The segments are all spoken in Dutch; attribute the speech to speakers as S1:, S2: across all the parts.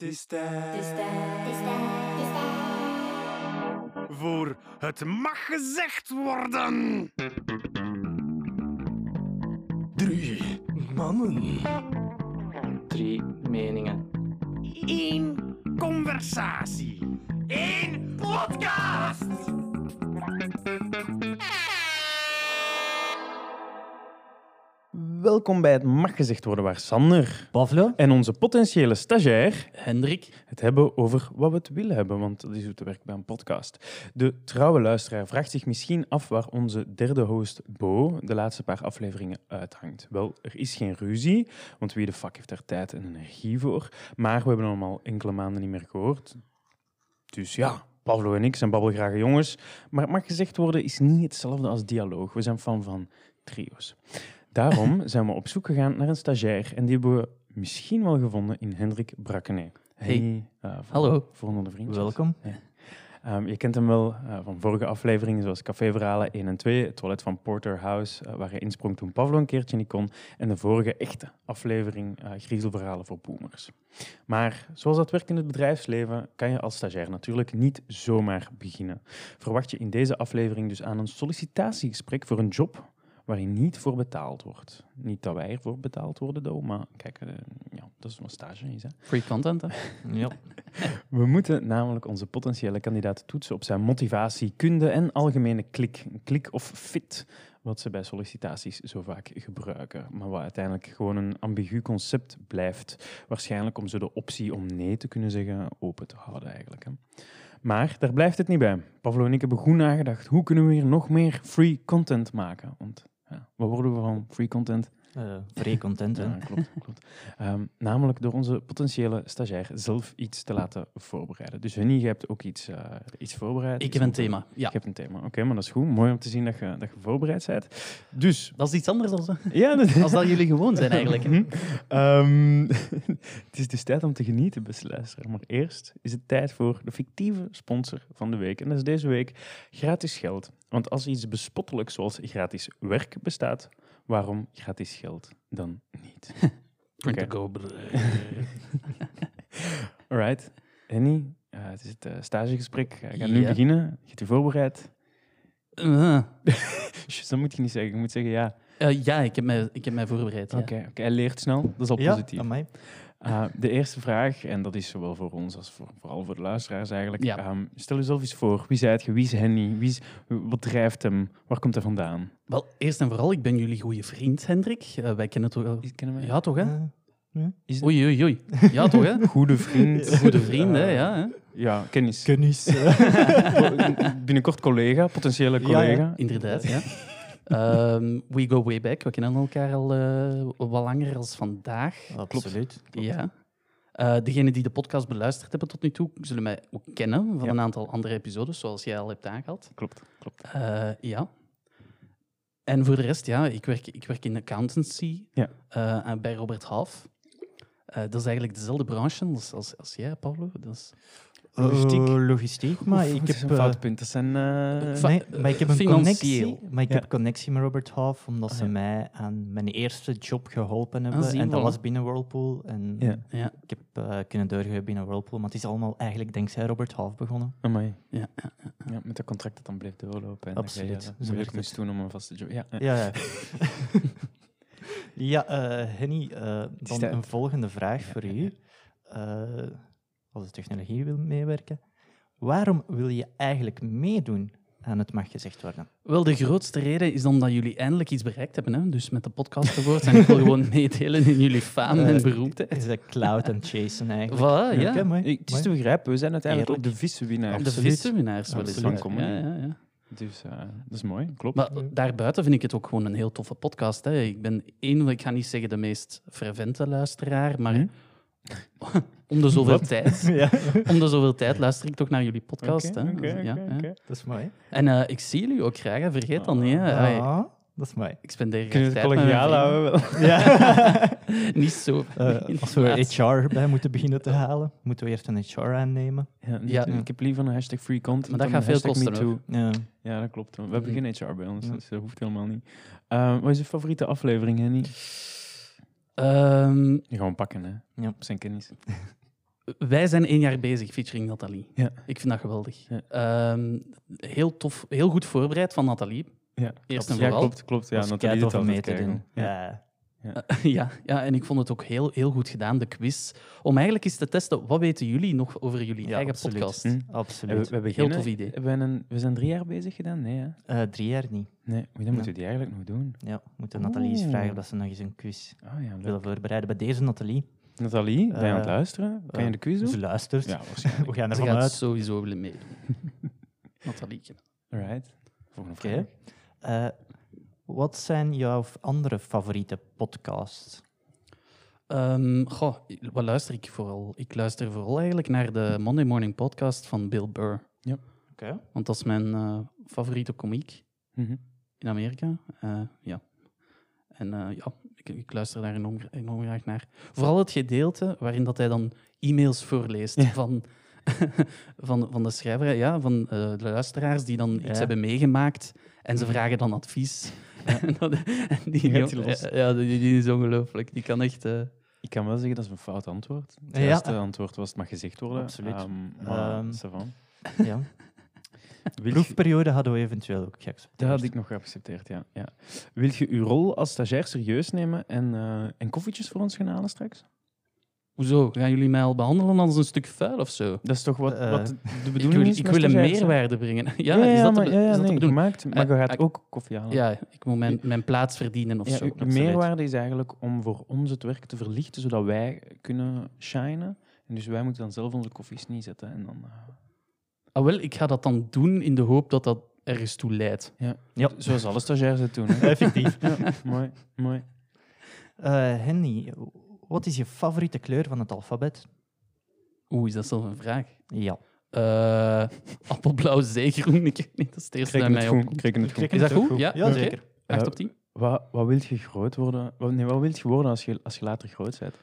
S1: Het is tijd voor Het Mag Gezegd Worden. Drie mannen.
S2: drie meningen.
S1: Eén conversatie. Eén podcast.
S3: Welkom bij het Mag Gezegd Worden, waar Sander
S2: Pavlo,
S3: en onze potentiële stagiair
S2: Hendrik,
S3: het hebben over wat we het willen hebben, want dat is hoe het werkt bij een podcast. De trouwe luisteraar vraagt zich misschien af waar onze derde host Bo de laatste paar afleveringen uithangt. Wel, er is geen ruzie, want wie de fuck heeft daar tijd en energie voor? Maar we hebben hem al enkele maanden niet meer gehoord. Dus ja, Pavlo en ik zijn babbelgrage jongens. Maar het mag gezegd worden, is niet hetzelfde als dialoog. We zijn fan van trio's. Daarom zijn we op zoek gegaan naar een stagiair. En die hebben we misschien wel gevonden in Hendrik Brakkene.
S2: Hey.
S3: eh, voor-
S2: Hallo.
S3: Volgende vriendjes.
S2: welkom.
S3: Ehm, je kent hem wel eh, van vorige afleveringen, zoals Caféverhalen 1 en 2, Het Toilet van Porterhouse, eh, waar hij insprong toen Pavlo een keertje niet kon, en de vorige echte aflevering eh Griezelverhalen voor Boomers. Maar zoals dat werkt in het bedrijfsleven, kan je als stagiair natuurlijk niet zomaar beginnen. Verwacht je in deze aflevering dus aan een sollicitatiegesprek voor een job waar je niet voor betaald wordt. Niet dat wij ervoor betaald worden, though, maar kijk, eh, ja, dat is een stage, is hè?
S2: Free content, hè? ja.
S3: We moeten namelijk onze potentiële kandidaat toetsen op zijn motivatie, kunde en algemene klik. Klik of fit, wat ze bij sollicitaties zo vaak gebruiken. Maar wat uiteindelijk gewoon een ambigu concept blijft. Waarschijnlijk om ze de optie om nee te kunnen zeggen open te houden eigenlijk. Hè. Maar daar blijft het niet bij. Pavlo en ik hebben goed nagedacht. Hoe kunnen we hier nog meer free content maken? Want ja, wat worden we van free content?
S2: Eh, free content, hè?
S3: Ja, klopt. klopt. Ehm, namelijk door onze potentiële stagiair zelf iets te laten voorbereiden. Dus Henny, je hebt ook iets, eh, iets voorbereid.
S2: Ik
S3: iets
S2: heb een
S3: moeten-
S2: thema. Ja.
S3: Ik heb een thema. Oké, maar dat is goed. Mooi om te zien dat je, dat je voorbereid bent. Dus,
S2: Dat is iets anders dan,
S3: ja, dat
S2: als dat jullie gewoon zijn, eigenlijk.
S3: Hm. Ehm, het is dus tijd om te genieten, beste luisteraar. Maar eerst is het tijd voor de fictieve sponsor van de week. En dat is deze week gratis geld. Want als iets bespottelijks zoals gratis werk bestaat, waarom gratis geld dan niet? Oké. Alright. Henny, eh, het is het eh, stagegesprek. Eh, Ik ga nu
S2: Ja.
S3: beginnen. Je hebt je voorbereid.
S2: Eh,
S3: Sst, dat moet je niet zeggen. Je moet zeggen ja.
S2: eh, ja, ik heb mij, ik heb mij voorbereid. ja.
S3: Oké, oké, hij leert snel. Dat is al positief.
S4: Amai.
S3: Eh, de eerste vraag, en dat is zowel voor ons als voor, vooral voor de luisteraars eigenlijk.
S2: Ja.
S3: Ehm, stel jezelf eens voor. Wie zijt je? Wie is Henny? Wie is, wat drijft hem? Waar komt hij vandaan?
S2: Wel, eerst en vooral, ik ben jullie goede vriend, Hendrik. Eh, wij kennen toch wel...
S3: Kennen we
S2: Ja, toch, hè?
S3: Eh, Is het-
S2: Oei, oei, oei. Ja, toch, hè?
S3: Goede vriend.
S2: Goede vriend, hè? Ja, hè?
S3: Ja, kennis.
S4: Kennis.
S3: Binnenkort collega, potentiële
S4: Ja,
S3: collega.
S4: ja.
S2: Inderdaad, ja. Ehm, we go way back. We kennen elkaar al eh, wat langer als vandaag.
S4: Absoluut.
S2: Ja. Eh, degenen die de podcast beluisterd hebben tot nu toe, zullen mij ook kennen van
S3: Ja.
S2: een aantal andere episodes, zoals jij al hebt aangehaald.
S3: Klopt, klopt.
S2: Eh, ja. En voor de rest, ja, ik werk, ik werk in accountancy
S3: Ja.
S2: eh, aan- bij Robert Half. Eh, dat is eigenlijk dezelfde branche als, als, als jij, Pablo. Dat is
S3: Logistiek.
S4: Logistiek. Eh, logistiek, maar ik
S3: dat is
S4: heb...
S3: een
S4: eh,
S3: fout punt. Dat zijn... eh,
S2: Va-
S4: Nee, maar ik heb een
S2: Financieel.
S4: connectie, maar ik
S3: Ja.
S4: heb connectie met Robert Half, omdat ze
S3: Ah, ja.
S4: mij aan mijn eerste job geholpen
S2: Ah,
S4: hebben.
S2: zie,
S4: en dat
S2: voilà.
S4: was binnen Whirlpool. En
S3: Ja.
S2: Ja.
S4: ik heb eh, kunnen doorgaan binnen Whirlpool, maar het is allemaal eigenlijk dankzij Robert Half begonnen.
S3: Amai.
S2: Ja,
S3: Ja, met dat contract dat dan bleef doorlopen. En
S4: Absoluut,
S3: Dat je,
S4: zo
S3: eh, moeilijk
S4: werkt
S3: moest doen om een vaste job. Ja, eh.
S4: Ja, ja. ja eh, Henny, eh,
S3: is
S4: dan
S3: tijd.
S4: een volgende vraag voor
S3: ja,
S4: u. Eh, als de technologie wil meewerken. Waarom wil je eigenlijk meedoen aan het mag gezegd worden?
S2: Wel, de grootste reden is dan dat jullie eindelijk iets bereikt hebben. Hè? Dus met de podcast ervoor. en ik wil gewoon meedelen in jullie faam en
S4: Eh,
S2: beroemdheid.
S4: Is dat Cloud en Jason eigenlijk?
S2: Voilà, ja.
S4: Oké, mooi,
S3: Eh, Het is
S4: mooi.
S3: te begrijpen, we zijn uiteindelijk ook de
S4: Eerlijk.
S3: vissenwinnaars.
S2: De
S4: Absoluut.
S2: visseminaars wel eens.
S3: Absoluut.
S2: Ja, ja, ja.
S3: Dus eh, dat is mooi, klopt.
S2: Maar daarbuiten vind ik het ook gewoon een heel toffe podcast. Hè. Ik ben één, ik ga niet zeggen de meest fervente luisteraar, maar
S3: Hm?
S2: om de zoveel
S3: Wat?
S2: tijd.
S4: Ja,
S2: Om de zoveel tijd luister ik toch naar jullie podcast.
S3: Oké,
S2: hè.
S3: oké,
S2: Dus, ja,
S3: oké,
S2: ja.
S3: oké.
S4: dat is mooi.
S2: En eh, ik zie jullie ook graag, hè. vergeet dat niet. hè. Hey,
S4: Ah, dat is mooi.
S2: Ik spendeer graag
S3: Kunnen we
S2: tijd
S3: het
S2: met mijn
S3: collegiaal
S2: vrienden.
S3: houden? wel?
S4: Ja.
S2: Niet zo.
S4: Eh, als we HR bij moeten beginnen te halen, moeten we eerst een HR aannemen.
S3: Ja, niet-
S2: Ja.
S3: Ik heb liever een hashtag free content.
S2: Maar dat
S3: dan
S2: gaat veel
S3: hashtag
S2: kosten,
S3: MeToo.
S4: Ja.
S3: Ja, dat klopt. We hebben
S2: Mhm.
S3: geen HR bij ons,
S4: Ja.
S3: dus dat hoeft helemaal niet. Eh, wat is je favoriete aflevering, Henny?
S2: Ehm,
S3: Gewoon pakken, hè?
S4: Ja.
S3: Op zijn kennis.
S2: Wij zijn één jaar bezig featuring Nathalie.
S3: Ja.
S2: Ik vind dat geweldig.
S3: Ja.
S2: Ehm, heel tof, heel goed voorbereid van Nathalie.
S3: Ja,
S2: Eerst en
S3: ja
S2: vooral.
S3: klopt, klopt. Ja,
S4: Dat is
S3: Nathalie
S4: keitof
S3: doet
S4: om
S3: altijd
S4: mee te
S3: keihard
S4: doen.
S3: goed. Ja.
S4: Ja.
S2: Ja, ja, en ik vond het ook heel, heel goed gedaan, de quiz. Om eigenlijk eens te testen, wat weten jullie nog over jullie
S4: Ja,
S2: eigen
S4: absoluut.
S2: podcast?
S3: Hm? En We,
S4: Absoluut.
S3: we,
S2: Heel
S3: beginnen,
S2: tof idee.
S3: we, zijn een- we zijn drie jaar bezig gedaan? Nee, hè?
S4: Eh, drie jaar niet.
S3: Nee, maar dan moeten we die eigenlijk nog doen.
S4: Ja, we moeten Nathalie eens
S3: Oeh.
S4: vragen of ze nog eens een quiz
S3: Ah ja, leuk.
S4: willen voorbereiden. Bij deze Nathalie,
S3: Nathalie, ben je aan het
S4: Eh,
S3: luisteren? Kan je
S4: eh,
S3: de quiz
S4: ze
S3: doen?
S4: luistert.
S3: Ja, waarschijnlijk.
S4: We gaan
S2: Ze
S4: ervan
S2: gaat
S4: uit.
S2: sowieso willen meedoen. Nathalie.
S3: Alright. Volgende
S4: Oké.
S3: vraag.
S4: Eh, wat zijn jouw andere favoriete podcasts?
S2: Ehm, goh, wat luister ik vooral? Ik luister vooral eigenlijk naar de Monday Morning Podcast van Bill Burr.
S4: Oké.
S2: Want dat is mijn eh, favoriete komiek
S3: Mhm.
S2: in Amerika. Eh, ja. En eh, ja, ik, ik luister daar enorm, enorm graag naar. Vooral het gedeelte waarin dat hij dan e-mails voorleest
S3: Ja.
S2: van, van, van de schrijver, ja, van eh, de luisteraars die dan
S4: Ja.
S2: iets hebben meegemaakt en ze vragen dan advies. en dat- en die,
S3: Mhm. Gaat hij los?
S2: ja, die, die is ongelooflijk. Die kan echt... eh,
S3: Ik kan wel zeggen dat is een fout antwoord. Het
S4: Ja.
S3: juiste antwoord was het mag gezegd worden.
S4: Absoluut.
S3: Ehm, maar,
S4: Ehm,
S3: ça va.
S4: Ja.
S3: Wil je-
S4: Proefperiode hadden we eventueel ook
S3: Dat
S4: geaccepteerd.
S3: had ik nog geaccepteerd, ja. ja. Wil je uw rol als stagiair serieus nemen en, eh, en koffietjes voor ons gaan halen straks?
S2: Hoezo? Gaan jullie mij al behandelen als een stuk vuil of zo?
S3: Dat is toch wat,
S4: Eh,
S3: wat de
S2: Ik
S3: bedoeling
S2: wil,
S3: is?
S2: ik
S3: met
S2: wil een
S3: stagiairs, hè?
S2: meerwaarde brengen. Ja,
S3: Ja, ja,
S2: is dat
S3: maar,
S2: de, be-
S3: ja, ja,
S2: is dat
S3: nee,
S2: de bedoeling?
S3: gemaakt, maar je
S2: Eh,
S3: gaat
S2: ik-
S3: ook koffie halen.
S2: Ja, ik moet mijn, mijn plaats verdienen of
S3: Ja,
S2: zo.
S3: uw
S2: dat is het.
S3: meerwaarde is eigenlijk om voor ons het werk te verlichten, zodat wij kunnen shinen. En dus wij moeten dan zelf onze koffies neerzetten. En dan, eh,
S2: Ah, wel, ik ga dat dan doen in de hoop dat dat ergens toe leidt.
S4: Ja.
S3: Zoals alle stagiairs het doen. hè.
S4: Effectief.
S3: ja, mooi, mooi.
S4: Eh, Henny, wat is je favoriete kleur van het alfabet?
S2: Oeh, is dat zelf een vraag?
S4: Ja.
S2: Eh, appelblauw, zeegroen. Ik weet niet, dat is het eerste dat mij opkomt.
S3: het goed.
S2: Is dat goed? Ja,
S4: Ja,
S2: oké.
S4: zeker.
S2: Acht
S3: Ja.
S2: op tien.
S3: Wat, wat wil je groot worden? Wat, nee, wat wil je worden als je, als je later groot bent?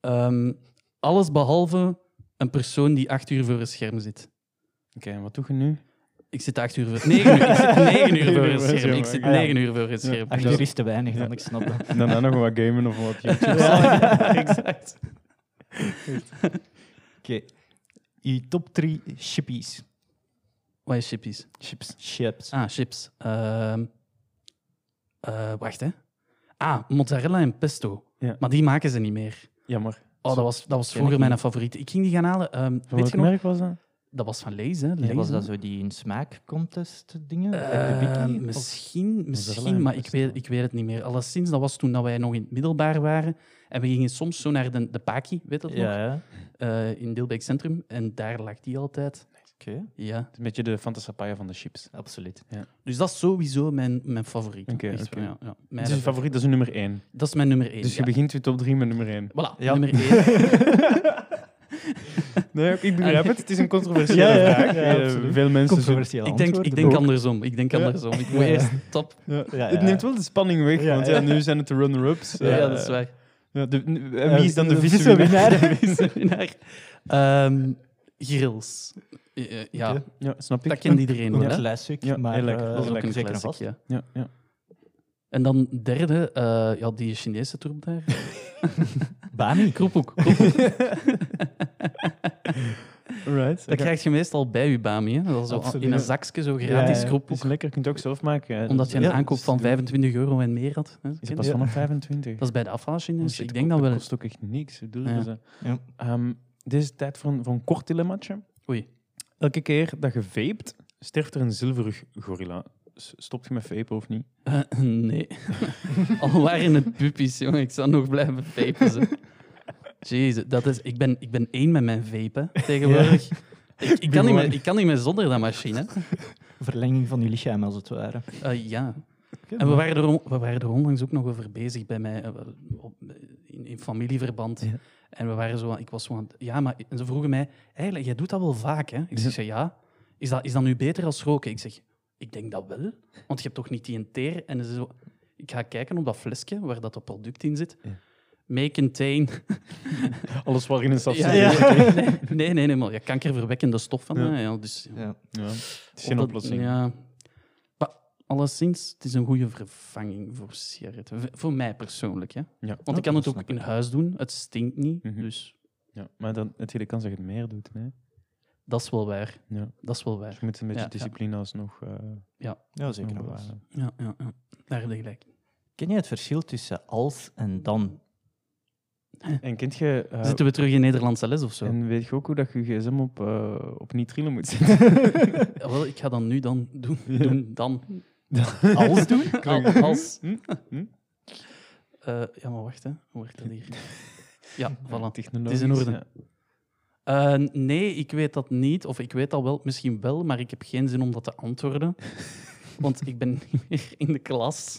S2: Ehm, alles behalve een persoon die acht uur voor een scherm zit.
S3: Oké, en wat doe je nu?
S2: Ik zit acht uur voor... Negen uur. Ik zit negen uur voor een scherm. Ik zit
S3: Ah, ja.
S2: negen uur voor een scherm.
S4: Acht uur is te weinig, dan ik snap dat.
S3: En daarna nog wat gamen of wat YouTube.
S2: Ja, exact.
S4: Oké. Je top 3 chippies.
S2: Wat is chippies?
S4: Chips. Chips.
S2: Ah, chips. Ehm, eh, wacht, hè. Ah, mozzarella en pesto.
S3: Ja.
S2: Maar die maken ze niet meer.
S3: Jammer.
S2: Oh, dat was, dat was vroeger mijn favoriet. Ik ging die gaan halen. ehm,
S3: Van
S2: weet
S3: welk
S2: je nog?
S3: merk was dat?
S2: Dat was van Lees, hè?
S4: Ja, was
S2: Lay's,
S4: dat
S2: hè?
S4: zo die in smaakcontest dingen?
S2: Ehm,
S4: Like de Biggie? Of-
S2: misschien, misschien
S3: en
S2: maar ik
S3: pesto.
S2: weet, ik weet het niet meer. Alleszins, dat was toen dat wij nog in het middelbaar waren. En we gingen soms zo naar de, de Paki, weet dat nog?
S4: Ja, ja.
S2: Eh, in Deelbeek Centrum. En daar lag die altijd.
S4: Oké,
S2: Ja.
S3: Het is Een beetje de fantasapaya van de chips.
S4: absoluut.
S2: Dus dat is sowieso mijn, mijn favoriet.
S3: Oké,
S2: Echt
S3: oké.
S2: wel, Ja, ja. Mijn-
S3: Dat is je favoriet, dat is je nummer 1.
S2: dat is mijn nummer één.
S3: Dus je
S2: ja.
S3: begint je top 3 met nummer 1.
S2: Voilà,
S4: Ja.
S2: nummer één.
S3: Nee, ik begrijp het. Het is een controversiële
S4: Ja, ja,
S3: vraag.
S4: ja,
S3: Eh,
S4: absoluut.
S3: veel mensen zullen-
S4: Controversieel
S2: Ik denk, ik denk andersom. Ik denk
S3: Ja.
S2: andersom. Ik wil
S4: Ja.
S2: eerst top.
S3: Ja.
S4: Ja,
S3: Het
S4: ja.
S3: neemt wel de spanning weg,
S4: Ja,
S3: want ja,
S4: ja.
S3: nu zijn het de runner-ups.
S2: Ja,
S3: Eh,
S2: dat is waar.
S3: ja, de- en wie is dan Eh, de,
S4: de
S3: vice
S4: vice
S3: winnaar?
S4: winnaar?
S2: Winnaar. Ehm, grills. Eh, eh, ja,
S4: Oké.
S3: Ja, snap ik.
S2: dat kent iedereen wel.
S4: Een
S2: hè?
S4: classic,
S3: Ja,
S4: maar
S3: heel lekker.
S4: eh,
S2: Dat is ook
S3: lekker,
S2: een
S4: zeker en
S2: classic,
S4: vast.
S2: ja.
S3: Ja, ja.
S2: En dan derde, eh, ja, die Chinese troep daar.
S4: Bami.
S2: Kroephoek. kroephoek.
S3: Alright.
S2: dat krijg je meestal bij je bami. Hè? Dat is zo
S4: Absoluut.
S2: in een zakje, zo gratis
S3: ja,
S2: kroephoek.
S3: is lekker, je kunt het ook zelf maken. hè.
S2: Omdat je een
S3: Ja,
S2: aankoop van
S3: dus doe-
S2: 25 euro en meer had. hè.
S3: Is het pas vanaf 25?
S2: Dat is bij de afvalmachine.
S3: Oh
S2: Dus
S3: shit,
S2: ik denk dat wel.
S3: kost ook echt niks. Ik bedoel,
S2: Ja.
S3: dus, eh,
S4: Ja.
S3: ehm, dit is tijd voor een, voor een kort dilemmaatje.
S2: Oei.
S3: Elke keer dat je vapet, sterft er een zilverig gorilla. S- Stop je met vapen of niet?
S2: Eh, nee. Al waren het puppies, jongen. Ik zou nog blijven vapen. Zo. Jezus, dat is, ik, ben, ik ben één met mijn vapen tegenwoordig. Ik, ik, kan niet meer, ik kan niet meer zonder dat machine.
S4: Verlenging van uw lichaam, als het ware.
S2: Eh, ja. En we waren, er, on- we waren er onlangs ook nog over bezig bij mij, eh, op- in, in familieverband.
S3: Ja.
S2: En we waren zo, aan- ik was zo aan het- ja, maar en ze vroegen mij, eigenlijk, jij doet dat wel vaak, hè? Ik zeg, ja, is dat, is dat nu beter als roken? Ik zeg, ik denk dat wel, want je hebt toch niet die een teer? En ze zo, ik ga kijken op dat flesje waar dat, dat product in zit.
S3: Ja.
S2: May contain...
S3: Alles wat in een stad zit.
S2: Ja, Nee, nee, nee, nee, maar je kankerverwekkende stof van,
S3: Ja.
S2: hè, ja, dus...
S4: Ja.
S3: Ja, Het is geen
S2: Omdat-
S3: oplossing.
S2: Ja. Maar alleszins, het is een goede vervanging voor sigaretten. V- Voor mij persoonlijk, hè.
S3: Ja.
S2: Want ik kan het ook in huis doen. Het stinkt niet,
S3: Mhm.
S2: dus...
S3: Ja, maar dan het hele kans dat je het meer doet. Hè?
S2: Dat is wel waar.
S3: Ja.
S2: Dat is wel
S3: Dus
S2: waar.
S3: je moet een beetje
S2: Ja, ja.
S3: discipline alsnog eh,
S4: Ja, zeker
S3: nog
S4: nog wel.
S3: bewaren.
S2: Ja, ja, ja. Daar heb je gelijk.
S4: Ken je het verschil tussen als en dan?
S3: En kent je... eh,
S2: Zitten we terug in Nederlandse les of zo?
S3: en weet je ook hoe dat je gsm op, eh, op niet trillen moet zetten?
S2: Ja, wel, ik ga dan nu dan doen.
S3: Ja.
S2: doen dan.
S3: Als
S2: doen?
S3: Klonk-
S2: als.
S3: Hm? Hm?
S2: Eh, ja, maar wacht, hè. hoe werkt dat hier? Ja, voilà.
S3: Technologisch,
S2: Het is in orde.
S3: ja.
S2: Eh, nee, ik weet dat niet. Of ik weet dat wel, misschien wel, maar ik heb geen zin om dat te antwoorden. Want ik ben niet meer in de klas.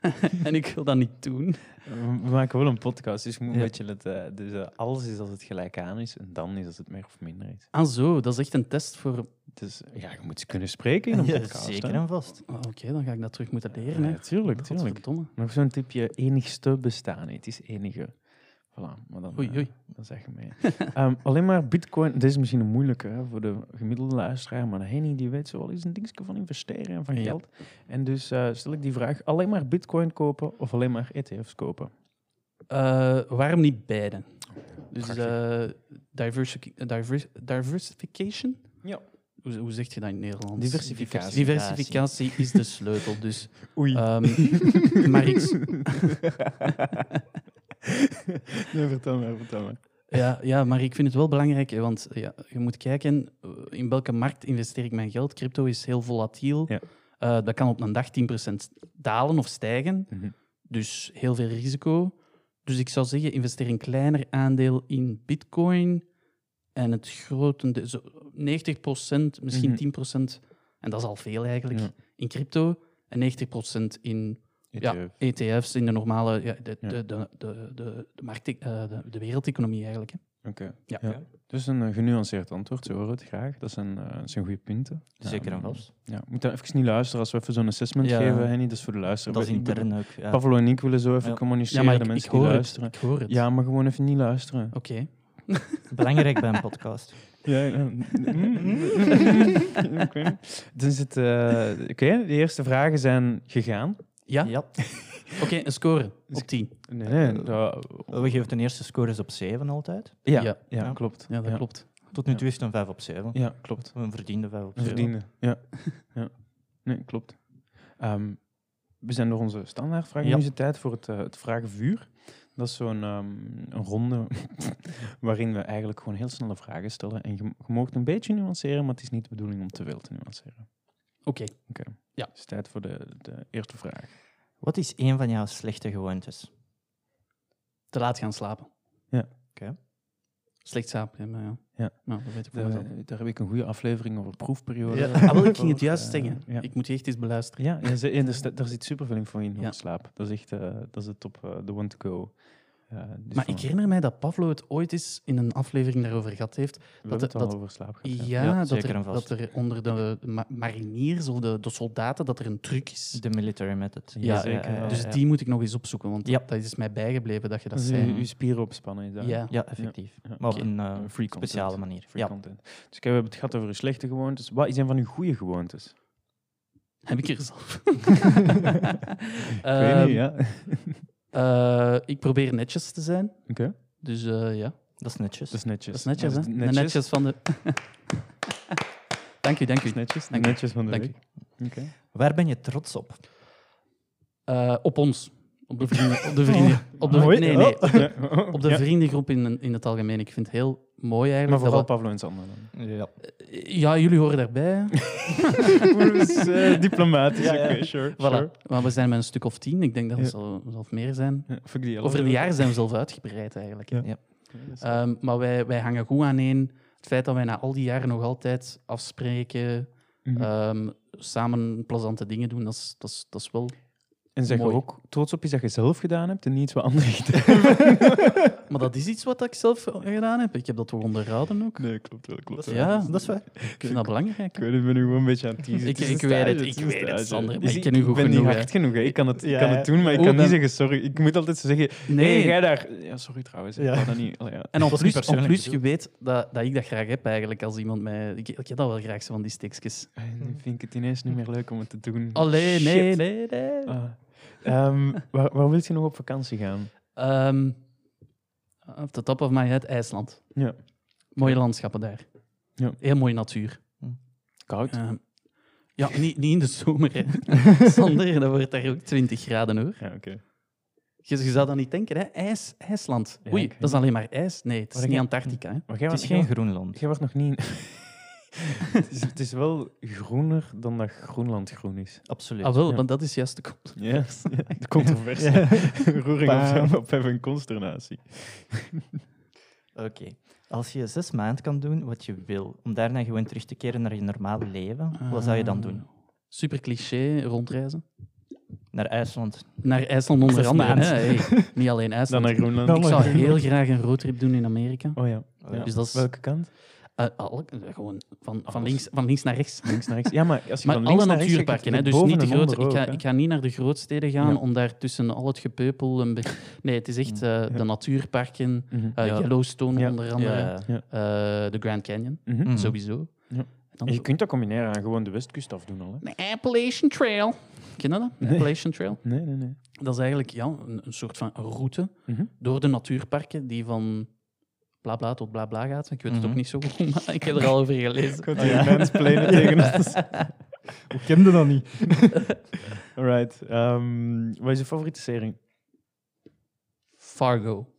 S2: en ik wil dat niet doen.
S3: We we maken wel een podcast, dus je moet een
S2: Ja.
S3: beetje letten. Dus eh, alles is als het gelijk aan is en dan is als het meer of minder is.
S2: Ah zo, dat is echt een test voor...
S3: Dus ja, je moet kunnen spreken in een
S4: Ja,
S3: podcast.
S4: zeker
S3: hè.
S4: en vast.
S2: Oh, Oké, dan ga ik dat terug moeten leren.
S3: Ja,
S2: Hè.
S3: tuurlijk, tuurlijk.
S2: Godverdomme.
S3: Nog zo'n tipje, enigste bestaan. niet. Het is enige. Voilà, maar dan,
S2: Oei,
S3: eh,
S2: oei.
S3: dan zeg je mee. Ehm, alleen maar bitcoin, dit is misschien een moeilijke hè, voor de gemiddelde luisteraar, maar Henny die weet zo wel eens een dingetje van investeren en van
S2: Ja.
S3: geld. En dus eh, stel ik die vraag, alleen maar bitcoin kopen of alleen maar ETF's kopen?
S2: Eh, waarom niet beide? Dus
S3: Prachtig.
S2: eh, diversi- divers- diversification?
S3: Ja.
S2: Hoe, hoe zeg je dat in het Nederlands?
S3: Diversificatie.
S2: Diversificatie is de sleutel, dus...
S3: Oei.
S2: ehm, maar ik, s-
S3: nee, vertel maar, vertel maar.
S2: ja, ja, maar ik vind het wel belangrijk, hè, want ja, je moet kijken eh, in welke markt investeer ik mijn geld. Crypto is heel volatiel.
S3: Ja.
S2: Eh, dat kan op een dag 10% dalen of stijgen.
S3: Mhm.
S2: Dus heel veel risico. Dus ik zou zeggen, investeer een kleiner aandeel in bitcoin. En het grotende, zo 90%, misschien
S3: Mhm.
S2: 10%, en dat is al veel eigenlijk,
S3: Ja.
S2: in crypto. En 90% in
S3: E
S2: Ja,
S3: ETF.
S2: ETF's in de normale, ja, de,
S3: Ja.
S2: De, de, de, de, de, markt, eh, de, de wereldeconomie eigenlijk. Hè.
S3: Oké.
S2: Ja.
S3: Ja. Dus een eh, genuanceerd antwoord, ze horen het graag. Dat zijn, eh, dat zijn goede punten.
S4: Zeker en
S3: Ehm,
S4: vast.
S3: Ja, moet dan even niet luisteren als we even zo'n assessment
S2: Ja.
S3: geven, Henny. Dat is voor de luisteraar.
S4: Dat is
S3: Ik bedoel,
S4: intern ook. ja.
S3: Pavlo en ik willen zo even
S4: Ja.
S3: communiceren,
S2: Ja, maar
S3: de
S2: ik, ik,
S3: mensen die
S2: hoor het,
S3: luisteren.
S2: ik hoor het.
S3: Ja, maar gewoon even niet luisteren.
S2: Oké.
S4: Belangrijk bij een podcast.
S3: Ja, ja. Ik weet niet. dus het, eh, oké, de eerste vragen zijn gegaan.
S2: Ja?
S4: Ja.
S2: Oké, een score op 10.
S3: Nee, nee, Eh, dat-
S4: We geven ten eerste scores op 7 altijd.
S3: ja, ja,
S2: Ja.
S4: Ja.
S3: klopt.
S2: Ja, dat klopt.
S4: Tot nu
S3: Ja.
S4: toe is het een 5 op 7.
S3: Ja, klopt.
S4: Een verdiende 5 op
S3: Een
S4: 7.
S3: verdiende, ja. ja. Nee, klopt. Ehm, we zijn door onze standaardvraag.
S4: Ja.
S3: Nu is het tijd voor het, eh, het vragenvuur. Dat is zo'n ehm, een ronde waarin we eigenlijk gewoon heel snelle vragen stellen. En je, je mag een beetje nuanceren, maar het is niet de bedoeling om te veel te nuanceren.
S2: Oké.
S3: Het is tijd voor de, de eerste vraag.
S4: Wat is een van jouw slechte gewoontes?
S2: Te laat gaan slapen.
S3: Ja.
S4: Oké.
S2: Slecht slapen, ja, maar ja.
S3: Ja.
S2: Nou, dat weet ik wel.
S3: Daar, daar heb ik een goede aflevering over proefperiode.
S2: Ja. Ah, wel, ik ging het
S3: Over,
S2: juist
S3: eh,
S2: zeggen.
S3: ja.
S2: Ik moet je echt eens beluisteren.
S3: Ja, ja, ze- en er sta- daar zit superveel info in
S2: Ja.
S3: op slaap. Dat is echt eh, dat is de top, eh, the one to go. Eh, dus
S2: Maar
S3: van-
S2: ik herinner mij dat Pavlo het ooit eens in een aflevering daarover gehad heeft.
S3: we hebben
S2: dat-
S3: het al
S2: dat-
S3: over slaap gehad.
S2: Ja,
S3: ja.
S4: Ja,
S2: dat,
S4: zeker
S2: er,
S4: en vast.
S2: dat er onder de ma- mariniers of de, de soldaten dat er een truc is.
S4: De military method.
S3: Ja, zeker.
S4: ja, eh,
S3: Ah,
S2: Dus
S4: ja.
S2: die moet ik nog eens opzoeken, want
S4: Ja.
S2: dat is mij bijgebleven dat je dat
S3: Dus
S2: zei.
S3: je, je spieren opspannen is dat.
S2: Ja.
S4: Ja, effectief.
S3: Ja.
S4: Maar op
S2: Oké.
S4: een eh,
S3: Een free content.
S4: speciale manier.
S3: Free
S4: Ja.
S3: content. Dus kijk, we hebben het gehad over uw slechte gewoontes. Wat is een van uw goede gewoontes?
S2: Heb ik er zelf.
S3: Ik
S2: Ehm,
S3: weet niet, ja.
S2: Eh, ik probeer netjes te zijn.
S3: Oké.
S2: Dus eh, ja,
S4: Dat is netjes.
S3: Dat is netjes.
S2: dat is netjes,
S3: Dat
S2: hè?
S3: is
S2: Netjes.
S3: Netjes.
S2: netjes van de... dank u, dank u.
S3: Dat is netjes.
S2: Dank u.
S3: Netjes van de
S2: Dank
S3: week. Oké.
S4: Waar ben je trots op?
S2: Eh, op ons. Op de vrienden. Op de vrienden. Op de,
S3: Ah,
S2: nee, nee. Op de, op de
S3: Oh. Ja.
S2: vriendengroep in, in het algemeen. Ik vind het heel mooi
S3: Maar
S2: eigenlijk.
S3: vooral
S2: dat
S3: Pavlo en Sander dan.
S4: Ja.
S2: we- ja, jullie horen daarbij.
S3: Dus, eh, diplomatisch,
S4: Ja,
S3: oké, sure.
S4: ja.
S3: sure.
S2: voilà. Maar we zijn met een stuk of tien. Ik denk dat we
S3: Ja.
S2: zal, zal meer zijn.
S3: Ja, fuck die
S2: Over de
S3: hele-
S2: jaren zijn we zelf uitgebreid eigenlijk.
S3: Ja. Ja, dat is-
S2: Ehm, maar wij, wij hangen goed aan één. Het feit dat wij na al die jaren nog altijd afspreken,
S3: Mhm.
S2: ehm, samen plezante dingen doen, dat is, dat is, dat is wel...
S3: en zeg je
S2: mooi.
S3: ook trots op iets dat je zelf gedaan hebt en niet iets wat anderen gedaan
S2: Maar dat
S3: Eh,
S2: is iets wat ik zelf gedaan heb. Ik heb dat toch onderhouden ook.
S3: Nee, klopt wel, klopt wel.
S2: Ja,
S4: Dat is waar.
S2: ik vind dat belangrijk.
S3: Ik weet het, ik ben nu gewoon een beetje aan het teasen.
S2: Ik-
S3: is een
S2: ik weet het,
S3: stage,
S2: ik
S3: is een
S2: weet het,
S3: stage.
S2: Sander, maar
S3: Dus
S2: ik ken u goed
S3: ben
S2: genoeg,
S3: niet
S2: hè.
S3: hard genoeg, hè. Ik kan het, ik
S4: Ja,
S3: kan het doen, maar ik
S2: Ook
S3: kan niet
S2: dan-
S3: zeggen sorry. Ik moet altijd zo zeggen, nee,
S2: Nee.
S3: jij daar... Ja, sorry trouwens, ik
S4: Ja.
S3: wou dat niet... Allee, ja.
S2: En op
S4: was
S2: plus,
S4: niet
S2: op
S4: persoonlijk
S2: plus je weet dat, dat ik dat graag heb eigenlijk, als iemand mij... Ik, ik heb dat wel graag, zo van die steekjes.
S3: En Nu vind ik het ineens niet meer leuk om het te doen.
S2: Allee,
S3: Shit.
S2: nee, nee, nee.
S3: Ah. Ehm, waar, waar wil je nog op vakantie gaan?
S2: Ehm, Op the top of my head, IJsland.
S3: Ja.
S2: Mooie landschappen daar.
S3: Ja.
S2: Heel mooie natuur.
S3: Koud.
S2: Ehm, ja, niet, niet in de zomer, hè. Sander, dat wordt daar ook 20 graden, hoor.
S3: Ja, oké.
S2: Je, je zou dat niet denken, hè. IJs, IJsland.
S3: Ja,
S2: Oei,
S3: ik weet
S2: dat is alleen maar ijs. Nee, het is
S3: Maar ik
S2: niet
S3: heb-
S2: Antarctica, hè.
S3: Maar jij,
S4: Het
S3: wordt-
S4: is
S3: jij
S4: geen
S3: wordt-
S4: Groenland.
S3: jij wordt nog niet... het, is, het is wel groener dan dat Groenland groen is.
S4: Absoluut.
S2: Ah, wel,
S3: Ja.
S2: want dat is juist de kop.
S3: Ja, de controverse. Roering op, op even consternatie.
S4: Oké. Als je zes maanden kan doen wat je wil, om daarna gewoon terug te keren naar je normale leven, wat zou je dan doen?
S2: Super cliché, rondreizen.
S4: Naar IJsland.
S2: Naar IJsland onder
S4: Zes
S2: andere, hè.
S4: maanden.
S2: Hey, niet alleen
S3: Dan
S2: IJsland.
S3: naar Groenland.
S2: Ik zou heel graag een roadtrip doen in Amerika.
S3: Oh ja.
S4: Ja.
S2: Dus dat is
S3: Welke kant?
S2: eh, al- eh, gewoon van, van,
S3: Alles.
S2: links, van links naar rechts.
S3: Links naar rechts. Ja, maar als je
S2: Maar
S3: van links
S2: alle
S3: naar rechts kijkt,
S2: natuurparken, hè,
S3: heb je
S2: dus
S3: boven
S2: niet de
S3: en
S2: grote.
S3: onder
S2: Ik ga,
S3: ook, hè.
S2: ik ga niet naar de grootsteden gaan
S3: Ja.
S2: om daar tussen al het gepeupel. Een be- nee, het is echt eh, de natuurparken,
S3: Mhm.
S2: eh,
S4: Ja.
S2: Yellowstone
S3: Ja.
S2: onder andere,
S4: Ja.
S2: eh, de Grand Canyon
S3: Mhm.
S4: Mm.
S2: sowieso.
S3: Ja.
S2: En dan
S3: En je
S2: zo-
S3: kunt dat combineren aan gewoon de westkust afdoen al. Hè?
S2: de Appalachian Trail. Ken je dat? De
S3: Nee.
S2: Appalachian Trail.
S3: Nee, nee, nee.
S2: Dat is eigenlijk ja, een, een soort van route
S3: Mhm.
S2: door de natuurparken die van bla bla tot bla bla gaat. Ik weet het
S4: Mhm.
S2: ook niet zo goed, maar ik heb er al over gelezen.
S3: Komt hier mansplainen tegen ons.
S4: Hoe kende dat niet?
S3: Alright. ehm, wat is je favoriete serie?
S2: Fargo.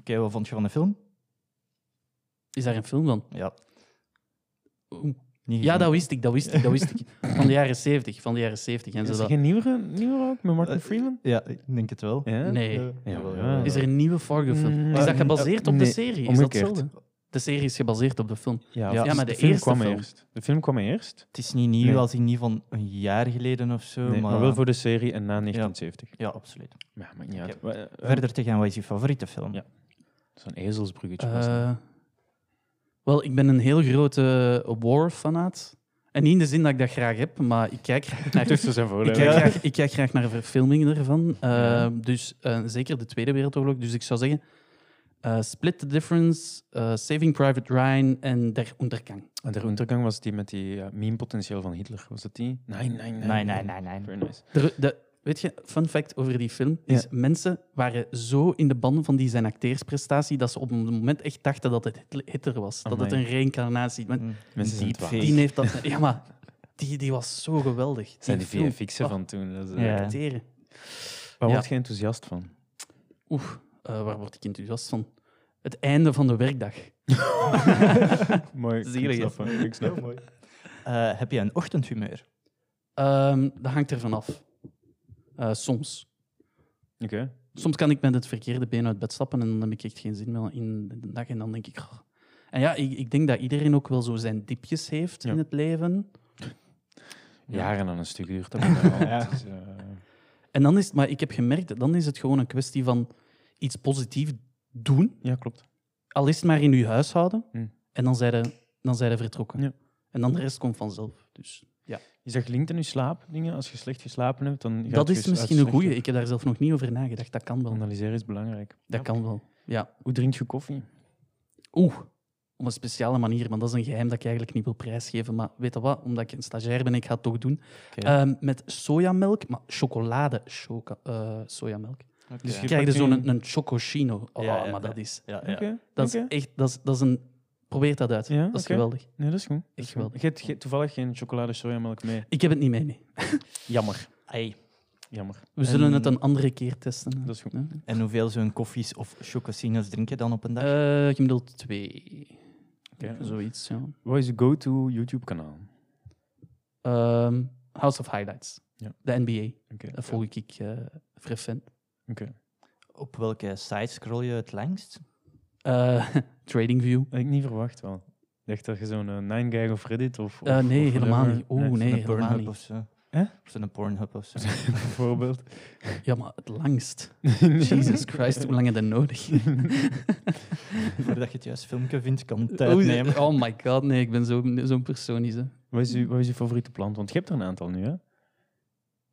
S4: Oké, wat vond je van de film?
S2: Is daar een film van?
S4: Ja.
S2: Oeh.
S4: Niet
S2: Ja,
S4: gezien.
S2: dat wist ik, dat wist ik, dat wist ik. Van de jaren 70, van de jaren 70. En
S3: Is
S2: ze
S3: er
S2: dat...
S3: geen nieuwere, nieuwere ook met Martin
S4: Eh,
S3: Freeman?
S4: Ja, ik denk het wel.
S3: Ja?
S2: Nee.
S3: Jawel,
S4: ja.
S3: jawel.
S2: Is er een nieuwe Fargo-film?
S3: Mm,
S2: Is
S4: eh,
S2: dat gebaseerd
S3: eh,
S2: op de
S3: nee,
S2: serie? Is dat
S3: omgekeerd.
S2: hetzelfde? De serie is gebaseerd op de film.
S3: Ja,
S4: Ja,
S3: of is-
S2: maar de
S3: film
S2: eerste
S3: kwam
S2: film.
S3: eerst. De film kwam eerst,
S4: Het is niet nieuw,
S3: Nee.
S4: als ik niet van een jaar geleden of zo.
S3: nee,
S4: maar...
S3: maar... wel voor de serie en na 1970.
S4: Ja, absoluut.
S3: Maar ja, maakt niet uit.
S4: Oké.
S3: Wa- eh,
S4: Verder te gaan, wat is je favoriete film?
S3: Ja. Zo'n ezelsbruggetje. was dat.
S2: Eh, wel, ik ben een heel grote war-fanaat. En niet in de zin dat ik dat graag heb, maar ik kijk graag naar, ik
S3: Tussen dus zijn
S2: kijk
S3: voorleven.
S2: graag, ik kijk graag naar verfilmingen ervan. Eh, Dus eh, zeker de Tweede Wereldoorlog. Dus ik zou zeggen, eh, Split the Difference, eh, Saving Private Ryan en Der Untergang.
S3: En de Untergang was die met die eh, meme-potentieel van Hitler. Was dat die? Nee, nee, nee.
S4: Nee, nee, nee, nee.
S3: Very nice.
S2: Er- de, weet je, fun fact over die film is:
S3: Ja.
S2: mensen waren zo in de banden van die zijn acteersprestatie dat ze op een moment echt dachten dat het Hitler- Hitler was. Dat het
S3: Amai.
S2: een reïncarnatie. Maar
S4: Mm.
S3: Mensen zijn
S4: Deepfake.
S3: twaalf.
S2: die heeft dat. Ja, maar die, die was zo geweldig.
S3: Zijn die
S2: film.
S3: VFX'en van toen. Dat is, eh,
S4: Ja.
S2: Acteren.
S3: Waar
S2: oh. Ja.
S3: word je enthousiast van?
S2: Oeh, eh, waar word ik enthousiast van? Het einde van de werkdag.
S3: Mooi.
S2: ik Zielig, snap hè?
S3: Ik snap
S4: Eh, heb je een ochtendhumeur?
S2: Ehm, dat hangt er vanaf. Eh, soms.
S3: Oké.
S2: Soms kan ik met het verkeerde been uit bed stappen en dan heb ik echt geen zin meer in de dag. En dan denk ik... "Oh." En ja, ik, ik denk dat iedereen ook wel zo zijn dipjes heeft
S3: Ja.
S2: in het leven.
S3: Jaren aan een stuk duurt dat. bij mij al. Het is, eh,
S2: En dan is het, maar ik heb gemerkt, dan is het gewoon een kwestie van iets positiefs doen.
S3: Ja, klopt.
S2: Al is het maar in uw huishouden.
S3: Hm.
S2: En dan zijn ze dan zijn ze vertrokken.
S3: Ja.
S2: En dan de rest komt vanzelf. Dus
S3: Is dat gelinkt aan je slaapdingen? Als je slecht geslapen hebt, dan... gaat
S2: dat
S3: je
S2: is
S3: s-
S2: misschien een
S3: uit
S2: goeie.
S3: slechte-
S2: Ik heb daar zelf nog niet over nagedacht. Dat kan wel.
S3: Analyseren is belangrijk.
S2: Dat kan wel. Ja.
S3: Hoe drink je koffie?
S2: Oeh. Op een speciale manier, maar dat is een geheim dat ik eigenlijk niet wil prijsgeven. Maar weet je wat? Omdat ik een stagiair ben, ik ga het toch doen. Ehm, met sojamelk, maar chocolade choca- eh, sojamelk. Dus je
S3: Je
S2: krijgt er
S3: pakt
S2: zo'n
S3: een-
S2: een, chococino. Oh,
S4: Ja, ja,
S2: maar
S4: ja.
S2: dat is...
S4: Ja, ja.
S3: Oké.
S2: Dat is
S3: oké.
S2: echt... Dat is, dat is een... Probeer dat uit.
S3: Ja,
S2: dat is
S3: oké.
S2: geweldig.
S3: Nee, dat is goed.
S2: Echt
S3: wel.
S2: geweldig.
S3: Je hebt ge- toevallig geen chocolade sojamelk mee.
S2: Ik heb het niet mee, nee.
S3: Jammer.
S4: Ai.
S3: Jammer.
S2: We zullen
S4: En-
S2: het een andere keer testen.
S3: Dat is goed.
S2: Ja.
S4: En hoeveel zo'n koffies of chocosinos drink je dan op een dag?
S2: Eh, gemiddeld twee.
S3: Oké.
S2: Zoiets, ja.
S3: Wat is je go-to YouTube-kanaal?
S2: Ehm, House of Highlights.
S3: Ja.
S2: De NBA.
S3: Oké.
S2: Dat volg ik eh frequent.
S4: Op welke site scroll je het langst?
S2: Eh, TradingView.
S3: Had ik niet verwacht wel. Ik dacht dat je zo'n eh, nine gag of Reddit of...
S2: Eh,
S3: of-
S2: nee,
S3: of
S2: helemaal
S3: whatever-
S2: niet. Oeh, nee.
S4: Zo'n
S2: helemaal
S4: Pornhub
S2: niet.
S4: of zo.
S3: Hè?
S4: Of Zo'n Pornhub of zo.
S3: Bijvoorbeeld.
S2: Ja, maar het langst. Jesus Christ, hoe lang heb je dat nodig?
S4: Voordat je het juiste filmpje vindt, kan het tijd
S2: Oeh,
S4: nemen.
S2: Oh my god, nee, ik ben zo'n zo'n persoon. Is, hè.
S3: Wat is, je, wat is je favoriete plant? Want je hebt er een aantal nu, hè?